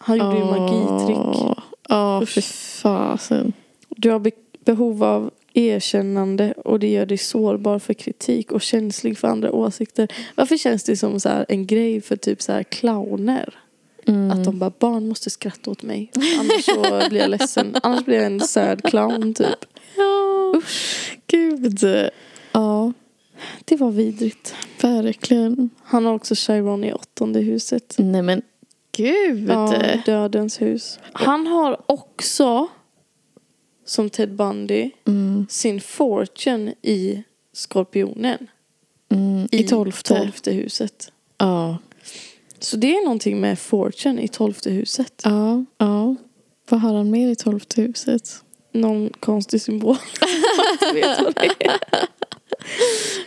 Speaker 2: Han gjorde ju magitrick.
Speaker 1: Ja,
Speaker 2: Usch.
Speaker 1: fy fasen.
Speaker 2: Du har be- behov av erkännande och det gör dig sårbar för kritik och känslig för andra åsikter. Varför känns det som så här en grej för typ så här clowner?
Speaker 1: Mm.
Speaker 2: Att de bara, barn måste skratta åt mig. Annars så blir jag ledsen. Annars blir jag en sad clown typ.
Speaker 1: Ja,
Speaker 2: Usch,
Speaker 1: gud. Ja,
Speaker 2: det var vidrigt.
Speaker 1: verkligen.
Speaker 2: Han har också Chiron i åttonde huset.
Speaker 1: Nej men gud.
Speaker 2: Ja,
Speaker 1: eh,
Speaker 2: dödens hus. Han har också, som Ted Bundy,
Speaker 1: Mm,
Speaker 2: sin fortune i Skorpionen.
Speaker 1: mm, I tolfte.
Speaker 2: tolfte huset.
Speaker 1: Ja.
Speaker 2: Så det är någonting med fortune i tolfte huset.
Speaker 1: ja, ja. Vad har han mer i tolfte huset?
Speaker 2: Någon konstig symbol. Jag vet vad det är.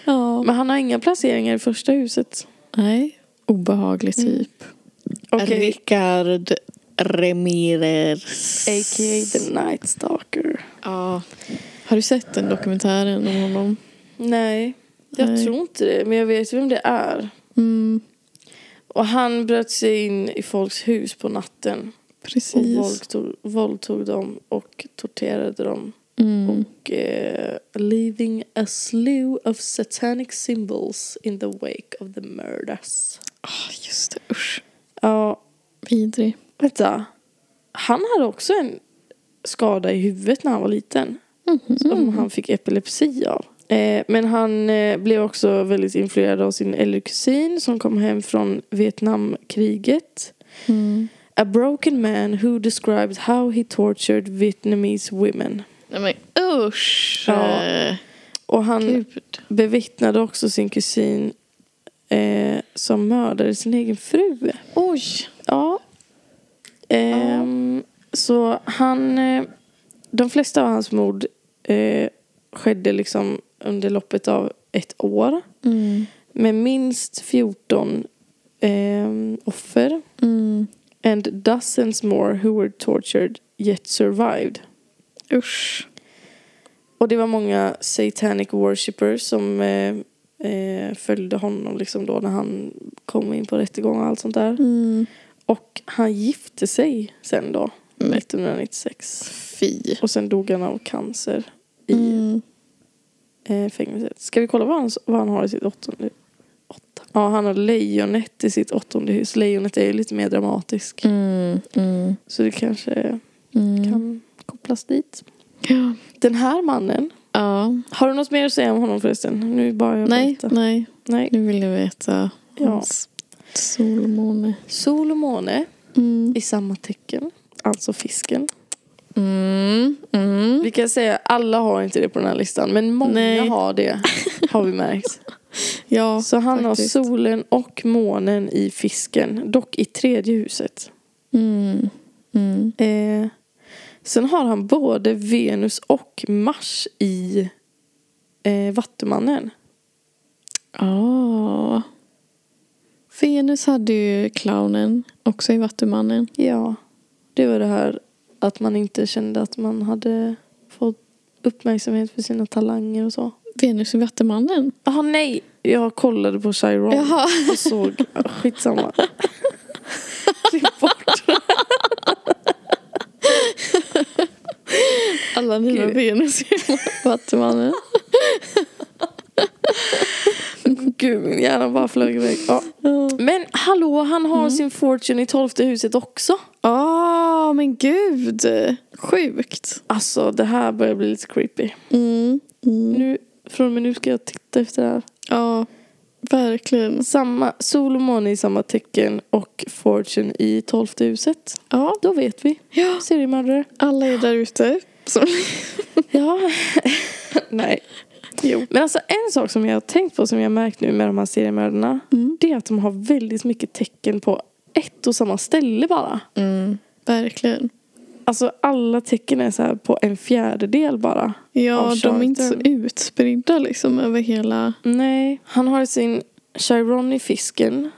Speaker 1: Ja.
Speaker 2: Men han har inga placeringar i första huset.
Speaker 1: Nej, obehaglig typ.
Speaker 2: Mm. Okej.
Speaker 1: Rickard Ramirez.
Speaker 2: A.k.a. The Night Stalker.
Speaker 1: Ja. Har du sett den dokumentären om honom?
Speaker 2: Nej, jag
Speaker 1: Nej.
Speaker 2: tror inte det. Men jag vet vem det är.
Speaker 1: Mm,
Speaker 2: Och han bröt sig in i folks hus på natten. Och
Speaker 1: precis.
Speaker 2: våldtog, våldtog dem och torterade dem.
Speaker 1: Mm.
Speaker 2: och eh, leaving a slew of satanic symbols in the wake of the murders.
Speaker 1: Ah, just det, usch.
Speaker 2: Ja,
Speaker 1: Vidrig.
Speaker 2: vänta. Han hade också en skada i huvudet när han var liten.
Speaker 1: Mhm.
Speaker 2: Som han fick epilepsi av. Eh, men han eh, blev också väldigt influerad av sin äldre kusin som kom hem från Vietnamkriget.
Speaker 1: Mm.
Speaker 2: A broken man who described how he tortured Vietnamese women.
Speaker 1: Nej men usch.
Speaker 2: Ja.
Speaker 1: Eh,
Speaker 2: Och han
Speaker 1: Gud.
Speaker 2: bevittnade också sin kusin eh, som mördade sin egen fru.
Speaker 1: Oj.
Speaker 2: Ja. Ehm, Så han... eh, De flesta av hans mord eh, skedde liksom under loppet av ett år.
Speaker 1: Mm.
Speaker 2: Med minst 14 ehm, offer.
Speaker 1: Mm.
Speaker 2: And dozens more who were tortured yet survived.
Speaker 1: Usch.
Speaker 2: Och det var många satanic worshippers som eh, eh, följde honom liksom då när han kom in på rättegång och allt sånt där.
Speaker 1: Mm.
Speaker 2: Och han gifte sig sen då,
Speaker 1: Men
Speaker 2: 1996.
Speaker 1: fy.
Speaker 2: Och sen dog han av cancer i
Speaker 1: Mm.
Speaker 2: eh, fängelset. Ska vi kolla vad han, vad han har i sitt åttonde? Åtta. Ja, han har lejonet i sitt åttonde hus. Lejonet är ju lite mer dramatisk.
Speaker 1: Mm. Mm.
Speaker 2: Så det kanske
Speaker 1: Mm.
Speaker 2: kan kopplas dit.
Speaker 1: Ja.
Speaker 2: Den här mannen.
Speaker 1: ja.
Speaker 2: Har du något mer att säga om honom förresten? Nu bara jag
Speaker 1: Nej,
Speaker 2: berättar.
Speaker 1: nej.
Speaker 2: Nej.
Speaker 1: Nu vill jag veta.
Speaker 2: Ja.
Speaker 1: Hans solmåne.
Speaker 2: Sol och måne
Speaker 1: Mm.
Speaker 2: i samma tecken. Alltså fisken.
Speaker 1: Mm. Mm.
Speaker 2: Vi kan säga alla har inte det på den här listan. Men många
Speaker 1: Nej.
Speaker 2: har det. Har vi märkt.
Speaker 1: Ja,
Speaker 2: Så han
Speaker 1: faktiskt.
Speaker 2: har solen och månen i fisken. Dock i tredje huset.
Speaker 1: Mm. Mm.
Speaker 2: Eh, sen har han både Venus och Mars i eh, Vattumannen.
Speaker 1: Ja. Venus hade ju clownen också i Vattumannen.
Speaker 2: Ja. Det var det här att man inte kände att man hade fått uppmärksamhet för sina talanger och så.
Speaker 1: Venus i Vattumannen.
Speaker 2: Jaha nej, jag kollade på Chiron
Speaker 1: Jaha.
Speaker 2: och såg, ja, skitsamma. Klipp bort.
Speaker 1: Alla mina
Speaker 2: Gud.
Speaker 1: Venus i Vattumannen.
Speaker 2: Gud min hjärna bara flög iväg. Ja.
Speaker 1: Ja,
Speaker 2: Men hallå, han har sin fortune i tolfte huset också.
Speaker 1: Ah, men gud. Sjukt.
Speaker 2: Alltså det här börjar bli lite creepy.
Speaker 1: Mm. Mm.
Speaker 2: Nu, från och med nu ska jag titta efter det här.
Speaker 1: Ja, verkligen.
Speaker 2: Samma, sol och måne i samma tecken och fortune i tolfte huset. Ja, då vet vi.
Speaker 1: Ja,
Speaker 2: Seriemördare.
Speaker 1: alla är där ute. som-
Speaker 2: Ja. Nej.
Speaker 1: Jo.
Speaker 2: Men alltså en sak som jag har tänkt på som jag har märkt nu med de här seriemördarna.
Speaker 1: Mm.
Speaker 2: Det är att de har väldigt mycket tecken på ett och samma ställe bara.
Speaker 1: Mm. Verkligen.
Speaker 2: Alltså alla tecken är så här på en fjärdedel bara.
Speaker 1: Ja,
Speaker 2: Av
Speaker 1: de är inte så
Speaker 2: charten.
Speaker 1: utspridda liksom över hela...
Speaker 2: Nej. Han har sin Chiron i fisken.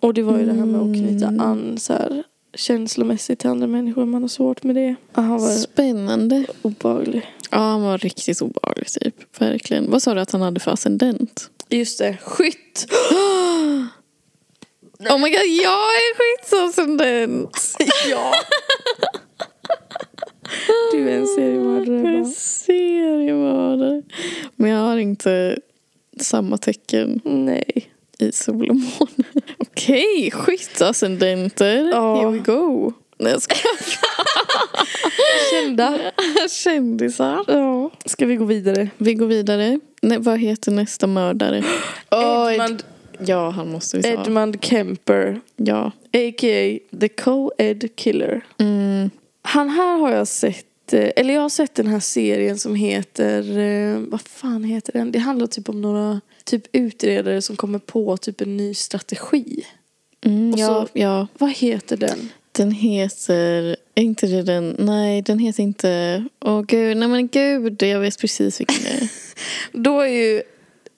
Speaker 2: Och det var ju det här med att knyta an så här känslomässigt till andra människor. Man har svårt med det. Ah, Han var
Speaker 1: Spännande.
Speaker 2: obehaglig.
Speaker 1: Ja, han var riktigt obehaglig typ. Verkligen. Vad sa du att han hade för ascendent?
Speaker 2: Just det, skytt!
Speaker 1: Oh my god, jag är skitsascendent!
Speaker 2: Ja! du är en
Speaker 1: Jag
Speaker 2: seriemördare.
Speaker 1: är
Speaker 2: bara.
Speaker 1: seriemördare. Men jag har inte samma tecken
Speaker 2: Nej.
Speaker 1: i sol och måne. Okej, skitsascendenter.
Speaker 2: Ja.
Speaker 1: Here we go. Nej, jag skojar.
Speaker 2: Kända.
Speaker 1: Kändisar.
Speaker 2: Ja. Ska vi gå vidare?
Speaker 1: Vi går vidare. Nej, vad heter nästa mördare? Åh,
Speaker 2: Edmund,
Speaker 1: Ja, han måste vi ta.
Speaker 2: Edmund Kemper.
Speaker 1: Ja.
Speaker 2: A.k.a. The Co-Ed Killer.
Speaker 1: Mm.
Speaker 2: Han här har jag sett, eh, eller jag har sett den här serien som heter, eh, vad fan heter den? Det handlar typ om några typ utredare som kommer på typ en ny strategi.
Speaker 1: Mm,
Speaker 2: Och
Speaker 1: ja,
Speaker 2: så-
Speaker 1: ja.
Speaker 2: Vad heter den?
Speaker 1: Den heter... Är inte det den? Nej, den heter inte... Åh gud, nej men gud, jag vet precis vilken det är.
Speaker 2: Då är ju,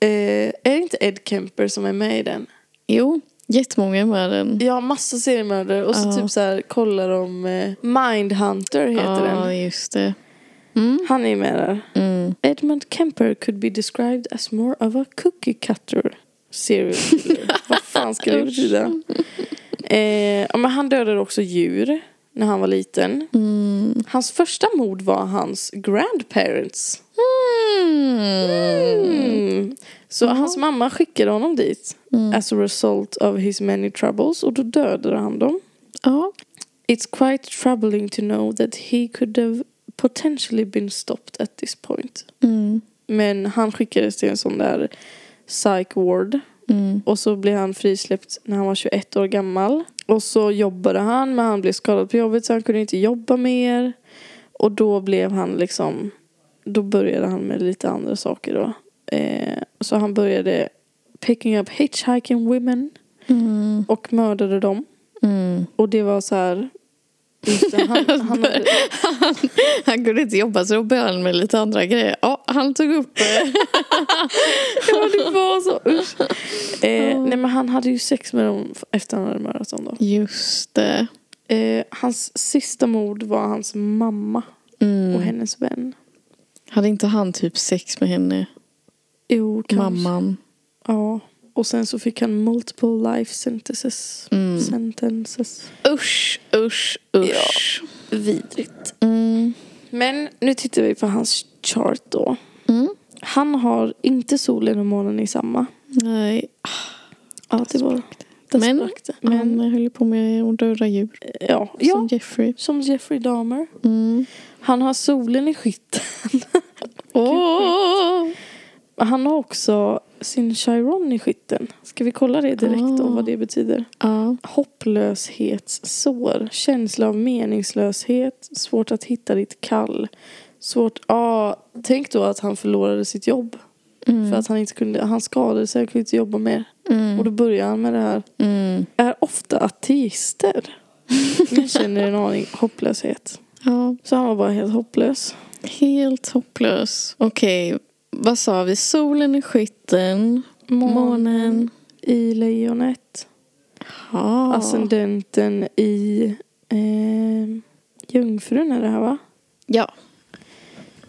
Speaker 2: eh, är det inte Ed Kemper som är med i den?
Speaker 1: Jo, jättemånga med den.
Speaker 2: Ja, massa seriemördare och så
Speaker 1: Ja.
Speaker 2: typ så här kollar de, eh, Mindhunter heter
Speaker 1: Ja,
Speaker 2: den.
Speaker 1: just det. Mm.
Speaker 2: Han är med där.
Speaker 1: Mm.
Speaker 2: Edmund Kemper could be described as more of a cookie cutter serial killer. Vad fan ska det betyda? Eh, ja, men han dödade också djur. när han var liten.
Speaker 1: Mm.
Speaker 2: Hans första mord var hans grandparents.
Speaker 1: Mm.
Speaker 2: Mm. Så hans mamma skickade honom dit.
Speaker 1: Mm.
Speaker 2: As a result of his many troubles. Och då dödade han dem.
Speaker 1: Ja.
Speaker 2: It's quite troubling to know that he could have potentially been stopped at this point.
Speaker 1: Mm.
Speaker 2: Men han skickades till en sån där psych ward.
Speaker 1: Mm.
Speaker 2: Och så blev han frisläppt när han var 21 år gammal. Och så jobbade han men han blev skadad på jobbet så han kunde inte jobba mer. Och då blev han liksom, då började han med lite andra saker då. Eh, så han började picking up hitchhiking women
Speaker 1: Mm.
Speaker 2: och mördade dem.
Speaker 1: Mm.
Speaker 2: Och det var så här... Just det, han, han hade,
Speaker 1: Han kunde inte jobba så då började han med lite andra grejer. Ja, han tog upp... eh,
Speaker 2: ja, det var så usch. Eh, nej men han hade ju sex med dem efter han hade mördat dem då.
Speaker 1: Just det.
Speaker 2: Eh, hans sista mord var hans mamma och
Speaker 1: Mm.
Speaker 2: hennes vän.
Speaker 1: Hade inte han typ sex med henne?
Speaker 2: Jo, kanske.
Speaker 1: Mamman.
Speaker 2: Ja. Och sen så fick han multiple life sentences.
Speaker 1: Mm.
Speaker 2: sentences.
Speaker 1: Usch, usch, usch.
Speaker 2: Vidrigt.
Speaker 1: Mm.
Speaker 2: Men nu tittar vi på hans chart då.
Speaker 1: Mm.
Speaker 2: Han har inte solen och månen i samma.
Speaker 1: Nej.
Speaker 2: Ja, det var... Där
Speaker 1: Men-
Speaker 2: sprack det.
Speaker 1: Han
Speaker 2: Men,
Speaker 1: höll på med att döda djur.
Speaker 2: ja. ja,
Speaker 1: Som Jeffrey.
Speaker 2: Som Jeffrey Dahmer.
Speaker 1: Mm.
Speaker 2: Han har solen i skytten.
Speaker 1: Åh!
Speaker 2: Han har också sin Chiron i skytten. Ska vi kolla det direkt
Speaker 1: Ah.
Speaker 2: om vad det betyder?
Speaker 1: Ja.
Speaker 2: Hopplöshetssår. Känsla av meningslöshet. Svårt att hitta ditt kall. Svårt... Ah, tänk då att han förlorade sitt jobb.
Speaker 1: Mm.
Speaker 2: För att han inte kunde... Han skadade sig och kunde inte jobba mer.
Speaker 1: Mm.
Speaker 2: Och då börjar han med det här.
Speaker 1: Mm.
Speaker 2: Är ofta ateister. Jag känner en aning hopplöshet.
Speaker 1: Ja.
Speaker 2: Så han var bara helt hopplös.
Speaker 1: Helt hopplös. Okej, vad sa vi? Solen i skytten. Månen.
Speaker 2: I lejonet.
Speaker 1: Ja.
Speaker 2: Alltså, Ascendenten i eh, Jungfrun är det här va?
Speaker 1: ja.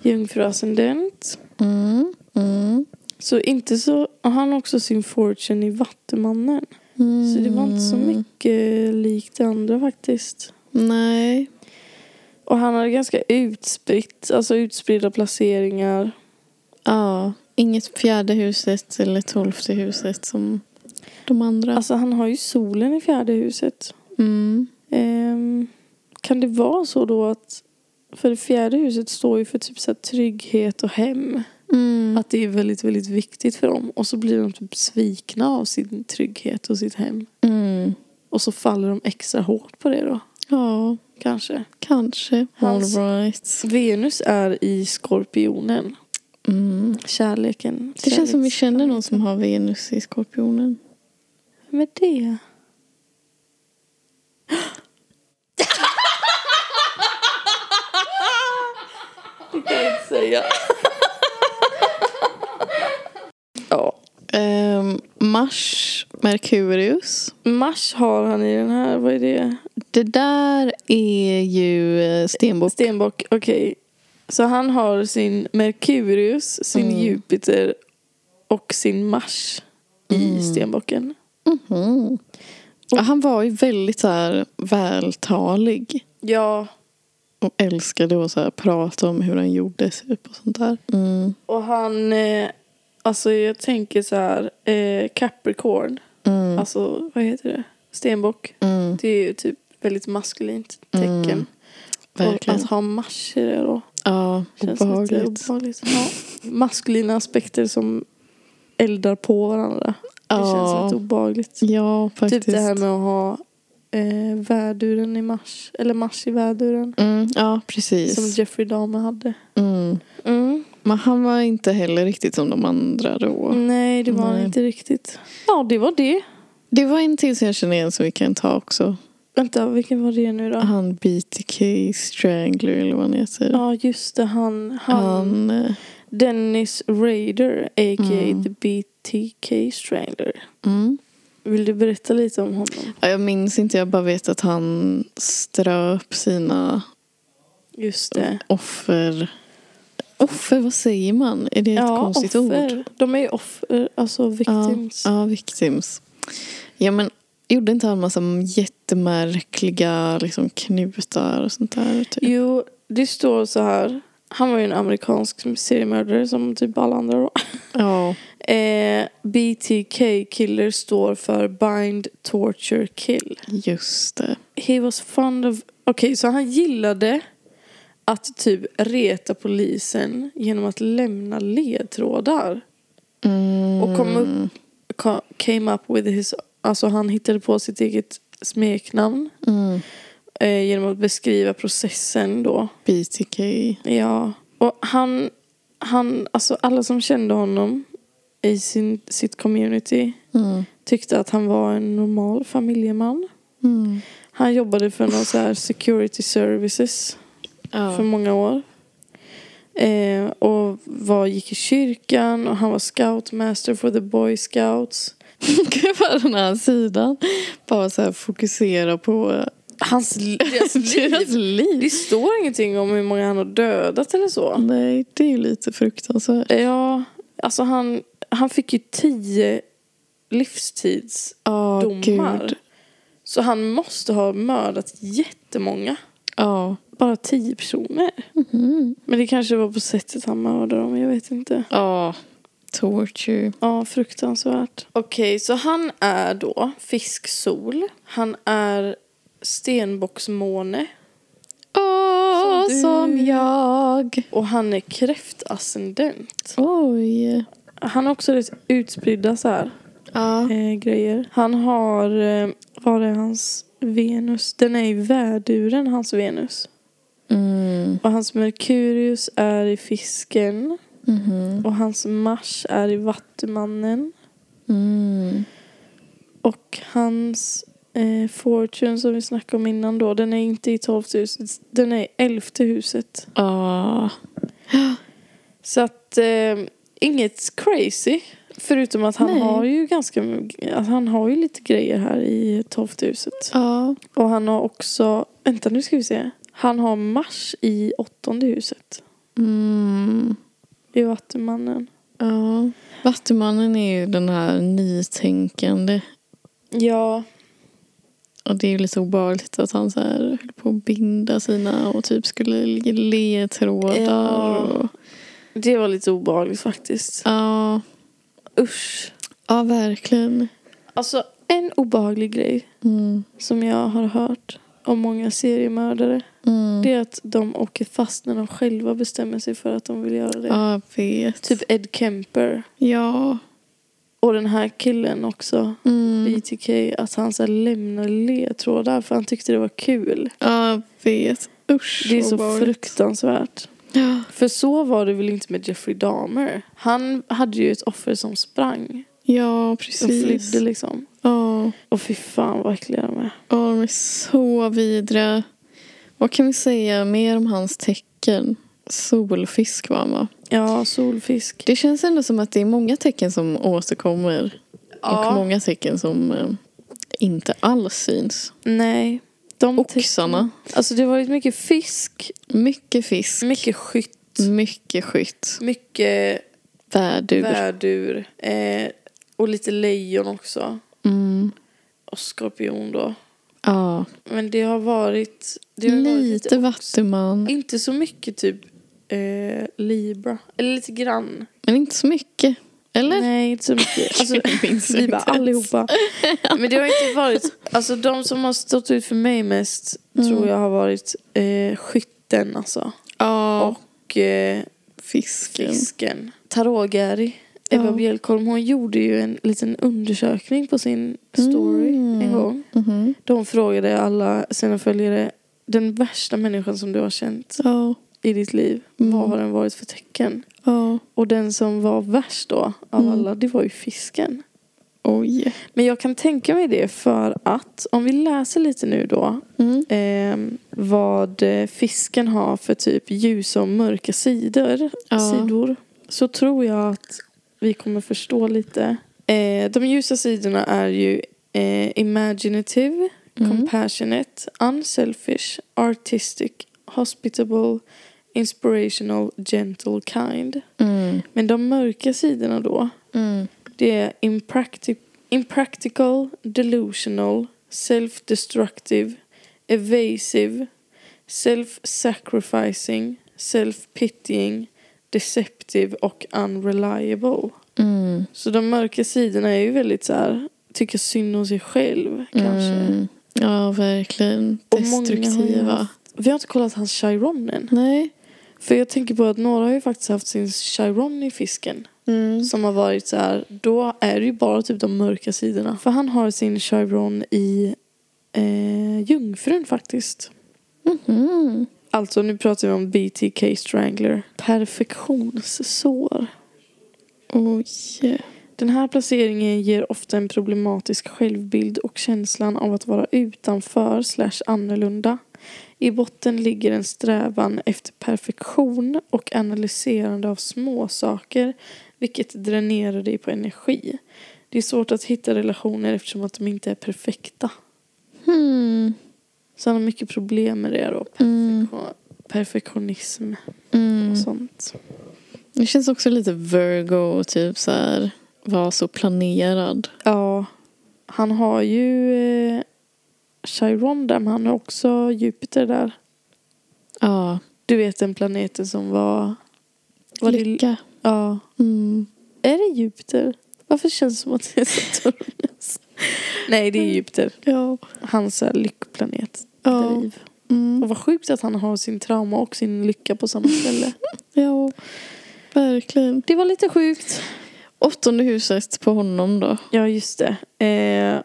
Speaker 2: Jungfruascendent.
Speaker 1: Mm. Mm.
Speaker 2: Så inte så... och Han har också sin fortune i Vattumannen.
Speaker 1: Mm.
Speaker 2: Så det var inte så mycket likt det andra faktiskt.
Speaker 1: Mm. Nej.
Speaker 2: Och han hade ganska utspritt, alltså utspridda placeringar.
Speaker 1: Ja. Inget fjärde huset eller tolfte huset som de andra.
Speaker 2: Alltså han har ju solen i fjärde huset.
Speaker 1: Mm.
Speaker 2: Ehm, kan det vara så då att... För det fjärde huset står ju för typ så här trygghet och hem.
Speaker 1: Mm.
Speaker 2: Att det är väldigt, väldigt viktigt för dem. Och så blir de typ svikna av sin trygghet och sitt hem.
Speaker 1: Mm.
Speaker 2: Och så faller de extra hårt på det då.
Speaker 1: Ja,
Speaker 2: Kanske.
Speaker 1: kanske.
Speaker 2: Hans-
Speaker 1: All right.
Speaker 2: Venus är i skorpionen.
Speaker 1: Mm.
Speaker 2: Kärleken.
Speaker 1: Det känns som vi känner någon som har Venus i skorpionen.
Speaker 2: Vem är det? Det kan jag inte säga. ja.
Speaker 1: Ehm, Mars, Merkurius.
Speaker 2: Mars har han i den här, vad är det?
Speaker 1: Det där är ju eh, stenbock.
Speaker 2: Stenbock, okej. Så han har sin Merkurius, sin
Speaker 1: Mm.
Speaker 2: Jupiter och sin Mars i stenbocken.
Speaker 1: Mhm. Ja, han var ju väldigt så här vältalig.
Speaker 2: Ja,
Speaker 1: Och älskade att så här, prata om hur han gjorde typ och sånt där. Mm.
Speaker 2: och han... Eh, alltså jag tänker så här, eh, Capricorn.
Speaker 1: Mm.
Speaker 2: Alltså vad heter det? Stenbock.
Speaker 1: Mm.
Speaker 2: Det är ju typ väldigt maskulint tecken.
Speaker 1: Mm,
Speaker 2: och
Speaker 1: Verkligen.
Speaker 2: att ha Mars i det då.
Speaker 1: Ja,
Speaker 2: Känns lite
Speaker 1: obehagligt.
Speaker 2: obehagligt. Ja. Maskulina aspekter som eldar på varandra. Det
Speaker 1: Ja.
Speaker 2: känns lite obehagligt.
Speaker 1: Ja, faktiskt.
Speaker 2: Typ det här med att ha eh, värduren i mars. Eller mars i värduren.
Speaker 1: mm, ja, precis.
Speaker 2: Som Jeffrey Dahmer hade.
Speaker 1: Mm. Men han var inte heller riktigt som de andra då.
Speaker 2: Nej, det var
Speaker 1: Nej.
Speaker 2: inte riktigt. Ja, det var det.
Speaker 1: Det var en till som jag känner igen som vi kan ta också.
Speaker 2: Vänta, vilken var det nu då?
Speaker 1: Han BTK Strangler eller vad han heter.
Speaker 2: Ja, just det. Han, han,
Speaker 1: Han, eh,
Speaker 2: Dennis Raider, a.k.a.
Speaker 1: Mm.
Speaker 2: The BTK Strangler.
Speaker 1: mm.
Speaker 2: Vill du berätta lite om honom?
Speaker 1: Ja, Jag minns inte, jag bara vet att han ströp sina
Speaker 2: Just det.
Speaker 1: offer. Offer, vad säger man? Är det ett konstigt ord?
Speaker 2: De är ju offer, alltså victims.
Speaker 1: Ja, victims. Ja, men gjorde inte han massa jättemärkliga liksom, knutar och sånt där. Typ.
Speaker 2: Jo, det står så här. Han var ju en amerikansk seriemördare som typ alla andra då.
Speaker 1: Ja.
Speaker 2: Eh, BTK killer står för bind, torture, kill.
Speaker 1: Just det.
Speaker 2: He was fond of... Okej, så han gillade att typ reta polisen genom att lämna ledtrådar.
Speaker 1: Mm.
Speaker 2: Och kom upp, ca- came up with his... Alltså han hittade på sitt eget smeknamn
Speaker 1: Mm.
Speaker 2: eh, genom att beskriva processen då.
Speaker 1: BTK.
Speaker 2: Ja, och han, han, alltså alla som kände honom i sin, sitt community
Speaker 1: Mm.
Speaker 2: tyckte att han var en normal familjeman.
Speaker 1: Mm.
Speaker 2: Han jobbade för någon så här security services
Speaker 1: Ja.
Speaker 2: för många år. Eh, och var, gick i kyrkan och han var scoutmaster för the boy scouts.
Speaker 1: Gud vad den här sidan bara så här fokusera på
Speaker 2: Hans li- deras
Speaker 1: deras
Speaker 2: liv.
Speaker 1: liv.
Speaker 2: Det står ingenting om hur många han har dödat eller så. Eh,
Speaker 1: Nej, det är ju lite fruktansvärt.
Speaker 2: Ja, alltså han, han fick ju tio livstids
Speaker 1: Ja,
Speaker 2: domar.
Speaker 1: gud.
Speaker 2: Så han måste ha mördat jättemånga.
Speaker 1: Ja. Mm-hmm.
Speaker 2: Bara tio personer. Men det kanske var på sättet han mördade dem, jag vet inte.
Speaker 1: Ja. Torture.
Speaker 2: Ja, fruktansvärt. Okej, så han är då fisksol. Han är stenboxmåne.
Speaker 1: Åh,
Speaker 2: Som du.
Speaker 1: som jag.
Speaker 2: Och han är kräftascendent.
Speaker 1: Oj.
Speaker 2: Han har också rätt utspridda så här
Speaker 1: Ja.
Speaker 2: eh, grejer. Han har, eh, vad är hans Venus? Den är i värduren, hans Venus.
Speaker 1: Mm.
Speaker 2: Och hans Merkurius är i fisken.
Speaker 1: Mhm.
Speaker 2: Och hans Mars är i Vattumannen.
Speaker 1: Mm.
Speaker 2: Och hans eh, Fortune som vi snackade om innan då, den är inte i 12 huset. Den är i elfte huset.
Speaker 1: Ja.
Speaker 2: Så att eh, inget crazy. Förutom att han
Speaker 1: Nej.
Speaker 2: har ju ganska, att han har ju lite grejer här i 12 huset.
Speaker 1: Ja.
Speaker 2: Och han har också, vänta nu ska vi se. Han har Mars i åttonde huset.
Speaker 1: Mm.
Speaker 2: I Vattumannen.
Speaker 1: Ja. Vattumannen är ju den här nytänkande.
Speaker 2: Ja,
Speaker 1: Och det är ju lite obehagligt att han så här höll på att binda sina och typ skulle lägga ledtrådar.
Speaker 2: Ja.
Speaker 1: Och,
Speaker 2: det var lite obehagligt faktiskt.
Speaker 1: ja.
Speaker 2: Usch.
Speaker 1: ja, verkligen.
Speaker 2: Alltså en obehaglig grej
Speaker 1: Mm.
Speaker 2: som jag har hört om många seriemördare.
Speaker 1: Mm.
Speaker 2: Det är att de åker fast när de själva bestämmer sig för att de vill göra det.
Speaker 1: Ja, jag vet.
Speaker 2: Typ Ed Kemper.
Speaker 1: Ja.
Speaker 2: Och den här killen också.
Speaker 1: Mm.
Speaker 2: BTK. Att han så här lämnade ledtrådar för han tyckte det var kul.
Speaker 1: Ja, jag vet. Usch.
Speaker 2: Det är så
Speaker 1: obehagligt.
Speaker 2: fruktansvärt.
Speaker 1: Ja.
Speaker 2: För så var det väl inte med Jeffrey Dahmer. Han hade ju ett offer som sprang.
Speaker 1: Ja,
Speaker 2: Och
Speaker 1: precis.
Speaker 2: flydde liksom.
Speaker 1: Ja.
Speaker 2: Och fy fan vad äckliga de är.
Speaker 1: Ja, de är så vidriga. Vad kan vi säga mer om hans tecken? Solfisk var han va?
Speaker 2: Ja, solfisk.
Speaker 1: Det känns ändå som att det är många tecken som återkommer. Och många tecken som eh, inte alls syns.
Speaker 2: Nej. De
Speaker 1: Oxarna.
Speaker 2: Alltså det har varit mycket fisk.
Speaker 1: Mycket fisk.
Speaker 2: Mycket skytt.
Speaker 1: Mycket skytt.
Speaker 2: Mycket
Speaker 1: Värdur.
Speaker 2: värdur. Eh, och lite lejon också.
Speaker 1: Mm.
Speaker 2: Och skorpion då.
Speaker 1: Ja.
Speaker 2: Men det har varit... Det har varit
Speaker 1: Lite vattuman.
Speaker 2: Inte så mycket typ eh, Libra. Eller lite grann.
Speaker 1: Men inte så mycket. Eller?
Speaker 2: Nej, inte så mycket. Alltså,
Speaker 1: Jag minns
Speaker 2: vi
Speaker 1: inte
Speaker 2: bara
Speaker 1: ens.
Speaker 2: allihopa. Men det har inte varit... Alltså de som har stått ut för mig mest
Speaker 1: Mm.
Speaker 2: tror jag har varit eh, skytten alltså.
Speaker 1: Ja.
Speaker 2: Och eh,
Speaker 1: fisken.
Speaker 2: fisken. Tarot-Gary. Ebba
Speaker 1: Ja.
Speaker 2: Bjelkholm, hon gjorde ju en liten undersökning på sin story
Speaker 1: Mm.
Speaker 2: en gång.
Speaker 1: Mhm.
Speaker 2: De frågade alla sina följare, den värsta människan som du har känt
Speaker 1: Ja.
Speaker 2: i ditt liv,
Speaker 1: Mm.
Speaker 2: vad har den varit för tecken?
Speaker 1: Ja.
Speaker 2: Och den som var värst då av
Speaker 1: Mm.
Speaker 2: alla, det var ju fisken.
Speaker 1: Oj.
Speaker 2: Men jag kan tänka mig det för att om vi läser lite nu då
Speaker 1: Mm.
Speaker 2: ehm, vad eh, fisken har för typ ljusa och mörka sidor,
Speaker 1: Ja.
Speaker 2: sidor så tror jag att vi kommer förstå lite. Eh, de ljusa sidorna är ju eh, imaginative,
Speaker 1: Mm.
Speaker 2: compassionate, unselfish, artistic, hospitable, inspirational, gentle, kind.
Speaker 1: Mm.
Speaker 2: Men de mörka sidorna då,
Speaker 1: Mm.
Speaker 2: det är impracti- impractical, delusional, self-destructive, evasive, self-sacrificing, self-pitying, deceptive och unreliable.
Speaker 1: Mm.
Speaker 2: Så de mörka sidorna är ju väldigt så här, tycka synd om sig själv kanske.
Speaker 1: Mm. Ja, verkligen.
Speaker 2: Och många har ju
Speaker 1: Destruktiva.
Speaker 2: haft- Vi har inte kollat hans Chiron än.
Speaker 1: Nej.
Speaker 2: För jag tänker på att några har ju faktiskt haft sin Chiron i fisken.
Speaker 1: Mm.
Speaker 2: Som har varit så här, då är det ju bara typ de mörka sidorna. För han har sin Chiron i eh, Jungfrun faktiskt.
Speaker 1: Mhm.
Speaker 2: Alltså nu pratar vi om BTK Strangler. Perfektionssår.
Speaker 1: Oj.
Speaker 2: Den här placeringen ger ofta en problematisk självbild och känslan av att vara utanför slash annorlunda. I botten ligger en strävan efter perfektion och analyserande av småsaker vilket dränerar dig på energi. Det är svårt att hitta relationer eftersom att de inte är perfekta.
Speaker 1: Hmm.
Speaker 2: Så han har mycket problem med det då.
Speaker 1: Mm.
Speaker 2: Perfektion- Perfektionism
Speaker 1: Mm.
Speaker 2: och sånt.
Speaker 1: Det känns också lite Virgo, typ så här. Var så planerad.
Speaker 2: Ja, han har ju eh, Chiron där, men han har också Jupiter där.
Speaker 1: Ja.
Speaker 2: Du vet den planeten som var... var det-
Speaker 1: Lycka.
Speaker 2: ja.
Speaker 1: Mm.
Speaker 2: Är det Jupiter? Varför känns det som att det är Saturnus? Nej, det är Jupiter.
Speaker 1: Ja.
Speaker 2: Hans eh, lyckoplanet.
Speaker 1: Mm. Ja.
Speaker 2: Driv.
Speaker 1: Mm.
Speaker 2: Och vad sjukt att han har sin trauma och sin lycka på samma ställe.
Speaker 1: ja. Verkligen.
Speaker 2: det var lite sjukt.
Speaker 1: Åttonde huset på honom då.
Speaker 2: Ja, just det. Eh,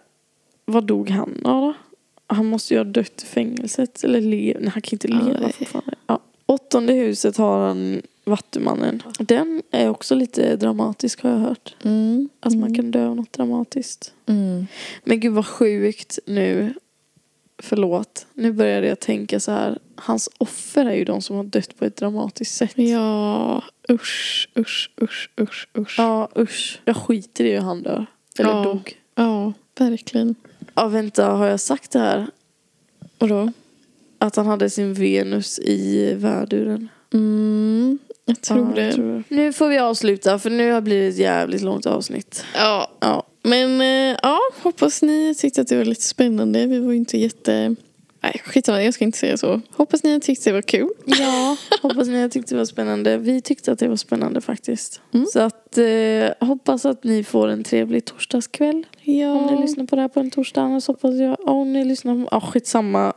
Speaker 2: vad dog han av då? Han måste ju ha dött i fängelset. Eller leva. Nej, han kan inte leva
Speaker 1: Nej.
Speaker 2: fortfarande. Ja. Åttonde huset har han Vattumannen. Den är också lite dramatisk har jag hört.
Speaker 1: Mm.
Speaker 2: Att Alltså man kan dö av något dramatiskt.
Speaker 1: Mm.
Speaker 2: Men gud vad sjukt nu. Förlåt. Nu började jag tänka så här. Hans offer är ju de som har dött på ett dramatiskt sätt.
Speaker 1: Ja. Usch, usch, usch, usch, usch.
Speaker 2: ja usch. Jag skiter i hur han dör. Eller
Speaker 1: Ja.
Speaker 2: dog.
Speaker 1: ja verkligen.
Speaker 2: Ja vänta, har jag sagt det här?
Speaker 1: Vadå?
Speaker 2: Att han hade sin Venus i värduren.
Speaker 1: Mm. Jag tror
Speaker 2: Ja,
Speaker 1: det.
Speaker 2: jag Nu får vi avsluta för nu har det blivit ett jävligt långt avsnitt.
Speaker 1: Ja.
Speaker 2: Ja.
Speaker 1: Men eh, ja, hoppas ni tyckte att det var lite spännande. Vi var ju inte jätte... Nej, skitsamma, jag ska inte säga så. Hoppas ni tyckte det var kul.
Speaker 2: Ja, hoppas ni tyckte det var spännande. Vi tyckte att det var spännande faktiskt.
Speaker 1: Mm.
Speaker 2: Så att eh, hoppas att ni får en trevlig torsdagskväll.
Speaker 1: Ja.
Speaker 2: Om ni lyssnar på det här på en torsdag. Annars hoppas jag, ja, om ni lyssnar, ja skitsamma.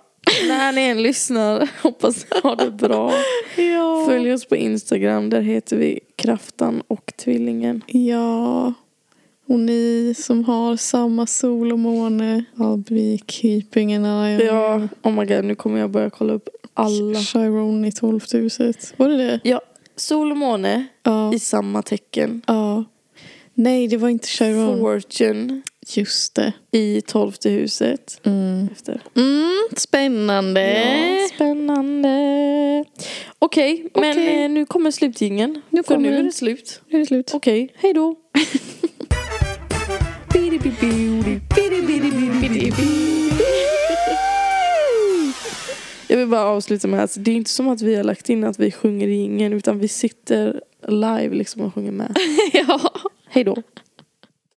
Speaker 2: När ni än lyssnar, hoppas ni har det bra.
Speaker 1: Ja.
Speaker 2: Följ oss på Instagram, där heter vi Kraftan och Tvillingen.
Speaker 1: Ja. Och ni som har samma sol och måne. I'll be keeping an eye on you.
Speaker 2: Ja, oh my god, nu kommer jag börja kolla upp alla.
Speaker 1: Chiron i tolfte huset. Var det det?
Speaker 2: Ja, sol och måne
Speaker 1: Ja.
Speaker 2: i samma tecken.
Speaker 1: ja. Nej, det var inte Chiron.
Speaker 2: Fortune
Speaker 1: Just det.
Speaker 2: i tolfte huset.
Speaker 1: Mm.
Speaker 2: Efter.
Speaker 1: Mm, spännande.
Speaker 2: Ja, spännande. Okej, men
Speaker 1: Okej.
Speaker 2: eh, nu kommer slutingen.
Speaker 1: Nu
Speaker 2: För
Speaker 1: kommer
Speaker 2: nu är
Speaker 1: den.
Speaker 2: det slut.
Speaker 1: Nu är det slut.
Speaker 2: Okej, hej då. Jag vill bara avsluta med att det är inte som att vi har lagt in att vi sjunger i ingen utan vi sitter live liksom och sjunger med.
Speaker 1: ja.
Speaker 2: Hej då.